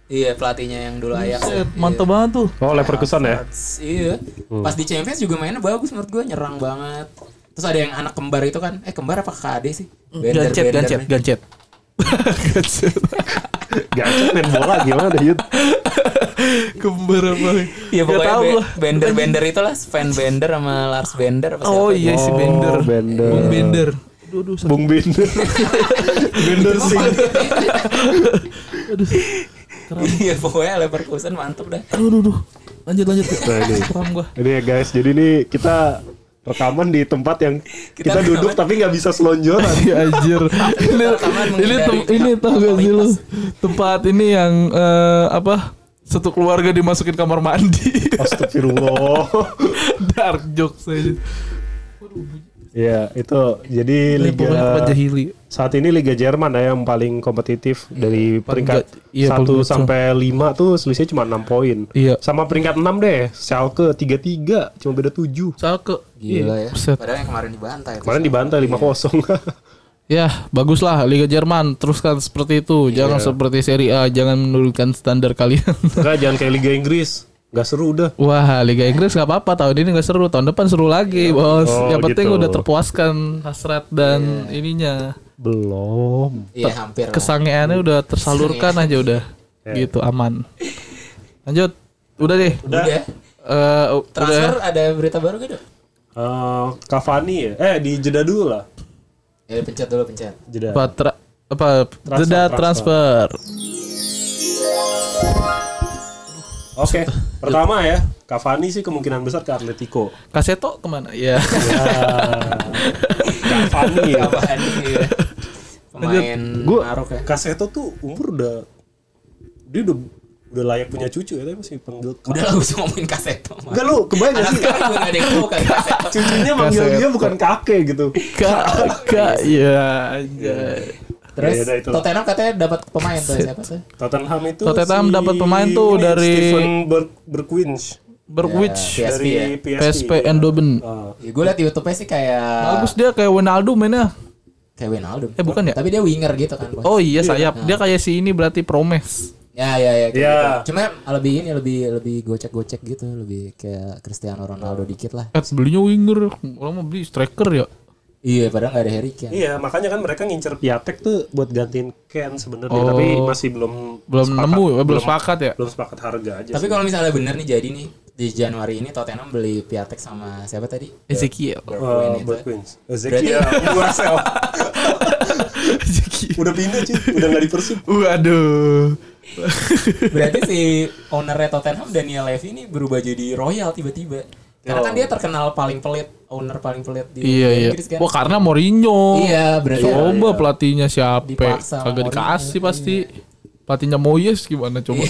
Iya pelatihnya yang dulu Ajax. ya.
Set, mantep banget tuh.
Oh, Leverkusen
Eh.
ya.
Hearts, Iya.
Hmm.
Pas di Champions juga mainnya bagus menurut gue nyerang banget. Terus ada yang anak kembar itu kan. Eh kembar apa KD sih?
Hmm.
Bender,
Gancet,
bender
gancet,
nih.
gancet.
Gacet main bola gimana Yud?
Kembaran banget.
Iya
Nggak
pokoknya
tahu
be-
lah.
Bender Bender itu lah Sven Bender sama Lars Bender apa siapa
Oh
gitu.
iya si Bender.
Bender.
Bung Bender. Aduh, aduh, sakit.
Bung Binder. Binder sih.
aduh.
Iya pokoknya Leverkusen mantep dah.
Aduh, aduh, aduh. Lanjut lanjut.
Nah, ini.
Paham gua.
Ini ya guys, jadi ini kita rekaman di tempat yang kita,
Kita
duduk
rekaman.
tapi nggak bisa selonjoran.
Iya anjir. ini
Rekaman
ini tem,
menghindari
ini tau gak sih lu
totalitas.
tempat ini yang eh, apa satu keluarga dimasukin kamar mandi.
Astagfirullah.
Dark jokes aja.
ya itu jadi
Ini
liga
pokoknya tempat jahili. Iya,
saat ini Liga Jerman ya yang paling kompetitif dari
Paling
peringkat
nggak- iya, paling
1
nggak
sampai 5 tuh selisihnya cuma 6 poin.
Iya.
Sama peringkat 6 deh, Schalke 33 cuma beda 7.
Salke.
Gila ya.
Iya, Buset.
Padahal yang kemarin dibantai. itu.
Kemarin dibantai 5-0.
Ya, baguslah Liga Jerman teruskan seperti itu. Jangan
Iya.
seperti Serie A, jangan menurunkan standar kalian.
Enggak jangan kayak Liga Inggris, nggak seru udah.
Wah, Liga Inggris nggak apa-apa tahun ini nggak seru, tahun depan seru lagi, bos.
Oh,
Yang penting
gitu.
udah terpuaskan hasrat dan ininya
Belum.
Iya hampir. Iya. lah. Iya.
kesangeannya udah tersalurkan aja udah,
Iya.
gitu aman. Lanjut, udah deh.
Udah.
Eh, u- udah.
Transfer ada berita baru gitu?
Eh, Cavani ya? Eh di jeda dulu lah.
Ya pencet dulu pencet.
Jeda.
Apa, tra- apa jeda transfer.
Oke, pertama ya, Cavani sih kemungkinan besar ke Atletico.
Kaseto kemana? Ya.
Cavani
Iya.
ya.
Apaan nih? ya? Pemain
Gue
Marok ya.
Kaseto tuh umur udah dia udah udah layak punya cucu ya tapi masih panggil
Udah lah usah ngomongin kaseto. Mas.
Enggak lu kebayang gak
Anak
sih
sekarang gue gak ada yang tahu kan kaseto.
cucunya manggil dia bukan kakek gitu.
Kak, kak,
Iya.
ya. anjay.
Terus
Ya, udah, itulah.
Tottenham katanya dapat pemain tuh siapa tuh?
Tottenham itu
Tottenham dapat pemain tuh dari-
Steven Ber Berkwinch
Berwitch,
PSV
dari
ya.
PSV.
PSP Eindhoven.
Ah,
Ya, gue liat di YouTube-nya sih kayak
Bagus dia kayak Ronaldo mainnya.
kayak Wijnaldum.
Eh, bukan ya?
Tapi dia winger gitu kan. Bos.
Oh iya sayap. Dia kayak si ini berarti Promes.
Ya ya ya. kayak
Iya.
gitu. Cuma lebih ini lebih lebih gocek-gocek gitu, lebih kayak Cristiano Ronaldo dikit lah.
Kat belinya winger, orang mau beli striker ya.
Iya, padahal nggak ada Harry Kane.
Iya, makanya kan mereka ngincer
Iya.
Piatek tuh buat gantiin Ken sebenarnya, tapi masih belum
Oh. Belum
sepakat.
nemu, eh, belum sepakat ya?
Belum sepakat harga aja.
Tapi
sih.
kalau misalnya bener nih jadi nih di Januari ini Tottenham beli Piatek sama siapa tadi?
Ezekiel.
Eh,
Bergwijn itu.
Berkwinch. Ezekiel Marcel.
Ezekiel.
Udah pindah cuy, udah nggak di Persib.
Waduh.
Berarti si ownernya Tottenham Daniel Levy ini berubah jadi royal tiba-tiba. Karena kan dia terkenal paling pelit, owner paling pelit di
iya iya.
Inggris kan.
Wah karena Mourinho.
Iya, berarti
Coba pelatihnya siapa?
Dipaksa sama
Kagak
Mourinho, Iya.
dikasih pasti. Pelatihnya Moyes gimana coba?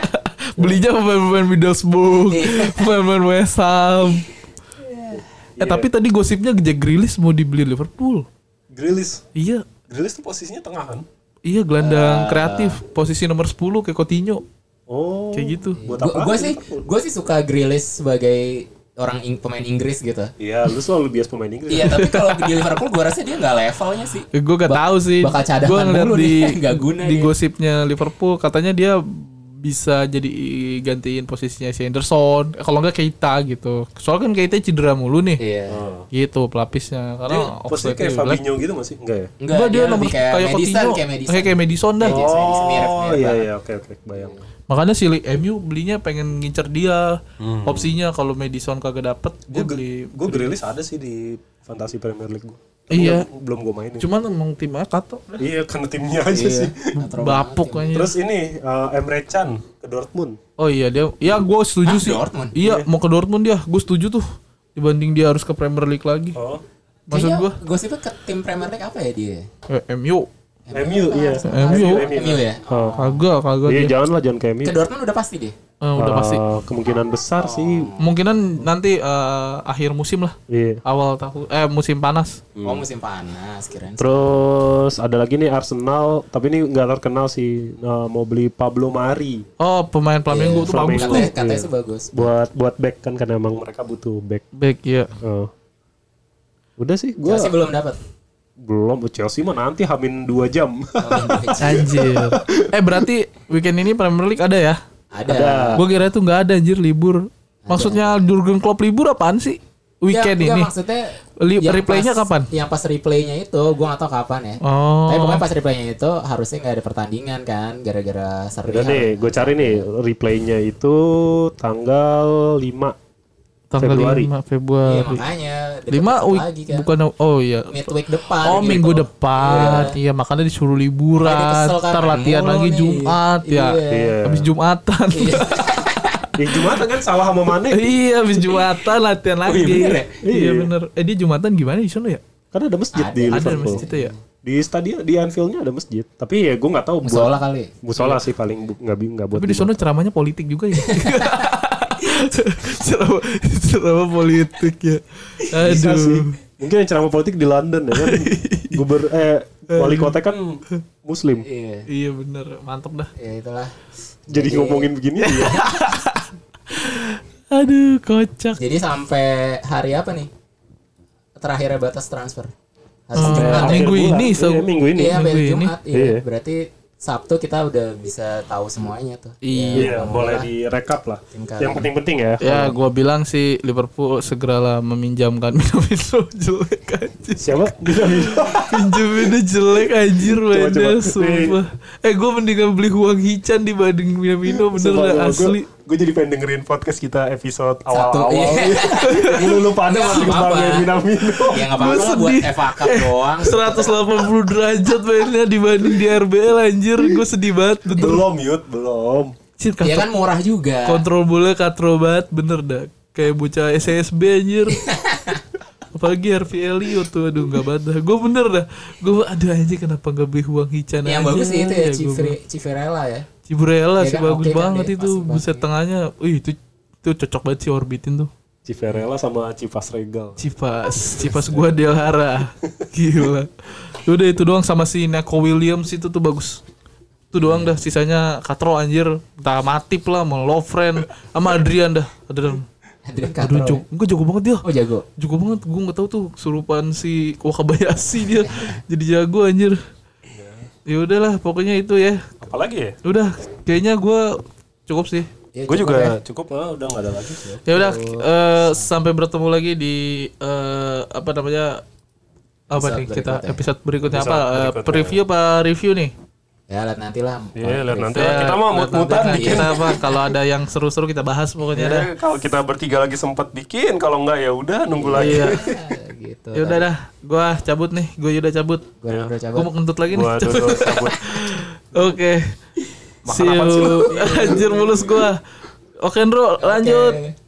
Belinya pemain-pemain Middlesbrough,
Iya.
pemain-pemain West Ham.
Iya.
Eh tapi tadi gosipnya Jack Grealish mau dibeli Liverpool.
Grilis.
Iya,
Grilis tuh posisinya tengah kan?
Iya
Ah.
gelandang kreatif posisi nomor 10 kayak Coutinho
Oh.
kayak gitu.
Buat apa?
Gue sih gue sih suka Grealish sebagai orang Ing- pemain Inggris gitu.
Iya, lu selalu bias pemain Inggris.
Iya, tapi kalau di Liverpool gue rasa dia nggak levelnya sih.
Eh, Gue gak
Bak-
tahu sih.
bakal cadangan
Gue ngeliat
mulu
di
nih, nggak guna
di
dia.
gosipnya Liverpool katanya dia bisa jadi gantiin posisinya si Henderson. Eh, Kalau nggak Keita gitu. Soalnya kan Keita cedera mulu nih.
Iya.
Gitu pelapisnya
Dia
karena
posisinya
Oxlade-nya
kayak
jelek.
Fabinho gitu masih? Enggak ya?
Enggak,
Nggak,
dia,
dia, nomor
lebih kayak,
kayak
Madison,
Coutinho.
kayak Madison.
Kayak kayak Madison dah.
Iya, mirip, mirip
Oh, iya
banget.
iya, oke oke, bayang.
Makanya si Li- MU belinya pengen ngincer dia.
Hmm.
Opsinya kalau Madison kagak dapet dia
Gue
beli.
gue Grilis ada sih di Fantasi Premier League gue.
Iya.
Belum gue mainin.
Cuman emang timnya kato.
Iya, karena timnya aja sih.
Bapuk kayaknya.
Terus ini eh, Emre Can ke Dortmund.
Oh iya dia, ya gue setuju sih.
Dortmund?
Iya mau ke Dortmund dia, gue setuju tuh. Dibanding dia harus ke Premier League lagi.
Oh,
Maksud
Kayaknya
gue,
gosipnya ke tim Premier League apa ya dia?
eh, MU,
MU iya.
MU,
MU ya.
Oh.
kagak kagak
Iya,
dia.
jangan lah jangan ke MU.
Ke Dortmund udah pasti deh.
Eh, udah
Eh,
pasti. Oh.
kemungkinan besar sih.
Kemungkinan nanti eh, akhir musim lah,
Iya.
awal tahun, eh musim panas.
Oh musim panas kirain.
Terus ada lagi nih Arsenal, tapi ini nggak terkenal sih. Nah, mau beli Pablo Mari
Oh pemain Flamengo tuh bagus tuh.
Katanya, Eh, katanya sih bagus.
buat buat back kan karena emang mereka butuh back.
Back ya.
Oh. Udah sih, gue
Chelsea belum dapat.
belum Oh, Chelsea mah nanti hamin 2 jam.
Oh. Anjir. eh berarti weekend ini Premier League ada ya?
Ada. Iya,
Gue kira itu nggak ada anjir libur. Maksudnya Jurgen Klopp libur apaan sih? weekend
Iya,
Ya, enggak,
ini.
maksudnya
Li-
yang
Iya, replaynya
pas-
kapan?
Yang pas replaynya itu gua nggak tahu kapan ya.
Oh.
Tapi pokoknya pas replaynya itu harusnya nggak ada pertandingan kan gara-gara seri.
Udah deh, gue cari nih replaynya itu tanggal 5
Tanggal
Februari.
5
Iya
Februari.
makanya. deket-deket
5 week
lagi kan.
bukan oh iya.
midweek depan.
Oh
gitu.
minggu depan,
Iya.
iya makanya disuruh liburan,
Makanya dia kesel kan,
ntar latihan
mulu
lagi
nih.
Jumat ya,
Iya.
habis Jumatan,
Iya.
Ya Jumatan kan salah sama Mane.
iya habis Jumatan latihan lagi,
iya bener ya?
iya bener, eh dia Jumatan gimana di sana ya?
Kan ada masjid di
Ada
Liverpool.
masjid itu ya?
Di stadion di Anfieldnya ada masjid. Tapi ya gue nggak tahu
Musola
buat
kali.
musola sih paling bu- nggak bi- nggak buat.
Tapi di sana ceramahnya politik juga ya. ceramah, ceramah politik ya.
Bisa sih.
Aduh.
Mungkin yang ceramah politik di London ya kan. Guber eh wali kota kan muslim.
Iya.
Iya bener, mantep dah.
Ya itulah.
Jadi
Iya.
ngomongin begini ya.
Aduh, kocak.
Jadi sampai hari apa nih? Terakhirnya batas transfer. Hmm. Hari
Eh,
Jumat.
Minggu
akhir
ini,
bulan.
so-
Iya, minggu ini.
Iya, sampai
minggu ini.
Jumat. Iya.
Iya.
Berarti Sabtu kita udah bisa tahu semuanya tuh.
Iya.
Iya, boleh direkap lah.
Tim kalah.
Yang penting-penting ya.
Iya.
Ya, gua bilang sih Liverpool segeralah meminjamkan Minamino jelek aja.
Siapa? Bisa bisa.
Pinjaminnya jelek anjir
coba.
beda
Nih.
sumpah. Eh gua mendingan beli uang Hichan dibanding Minamino bener lah asli.
Gue jadi pengen dengerin podcast kita episode awal-awal.
iya.
Lu lu pada
Nggak
masih
apa-apa.
kemarin Minamino.
Ya
Gua
nggak apa-apa lah buat
sedih.
FA Cup doang.
180 derajat mainnya dibanding di RBL anjir gue sedih banget bener
Belum mute, belum.
Cir,
Ya
katro-
kan murah juga.
kontrol bola katro banget bener dah kayak bocah SSB anjir apalagi Harvey Elliot tuh aduh nggak badah gue bener dah gue aduh anjir kenapa nggak beli uang Hichan
Yang
aja
bagus sih itu ya
gua bilang.
Civire- Civirella ya.
Ciburella
Ya
sih
kan,
bagus
oke kan
banget
dia,
itu
pasti bagus.
buset tengahnya wih itu itu cocok banget sih orbitin tuh
Civerella sama Cipas Regal.
Cipas, Cipas gua Delhara. Gila. Udah itu doang sama si Neko Williams itu tuh bagus. Itu doang dah sisanya Katro anjir, entah Matip lah, mau Lovren sama Adrian dah. Adrian.
Adrian
Aduh,
Castro.
jago, enggak jago banget dia.
Oh jago.
Jago banget, gua nggak tahu tuh surupan si Wakabayashi dia. Jadi jago anjir.
Iya.
Ya udahlah, pokoknya itu ya.
Apalagi ya?
Udah, kayaknya gua cukup sih.
Ya,
Gue
cukup ya.
juga cukup, Iya, ah, udah nggak ada lagi sih.
Ya udah, eh, sampai bertemu lagi di eh, apa namanya apa
Episode
nih kita
berikutnya.
episode berikutnya
Episode
apa eh,
berikutnya.
preview apa review nih?
Ya lihat nanti lah.
Iya, lihat nanti.
Ya,
Kita mau
lihat
mut-mutan
nanti.
bikin.
Kita apa kalau ada yang seru-seru kita bahas pokoknya dah.
Ya, kalau kita bertiga lagi sempat bikin, kalau nggak ya udah nunggu lagi.
Iya.
Ya, gitu.
Ya udah dah, gua cabut nih, gua udah cabut.
Gue udah coba.
Gua mau kentut lagi nih.
Gua dulu cabut.
Oke. See you. Anjir mulus gua. Oke, Nro, lanjut.
Oke.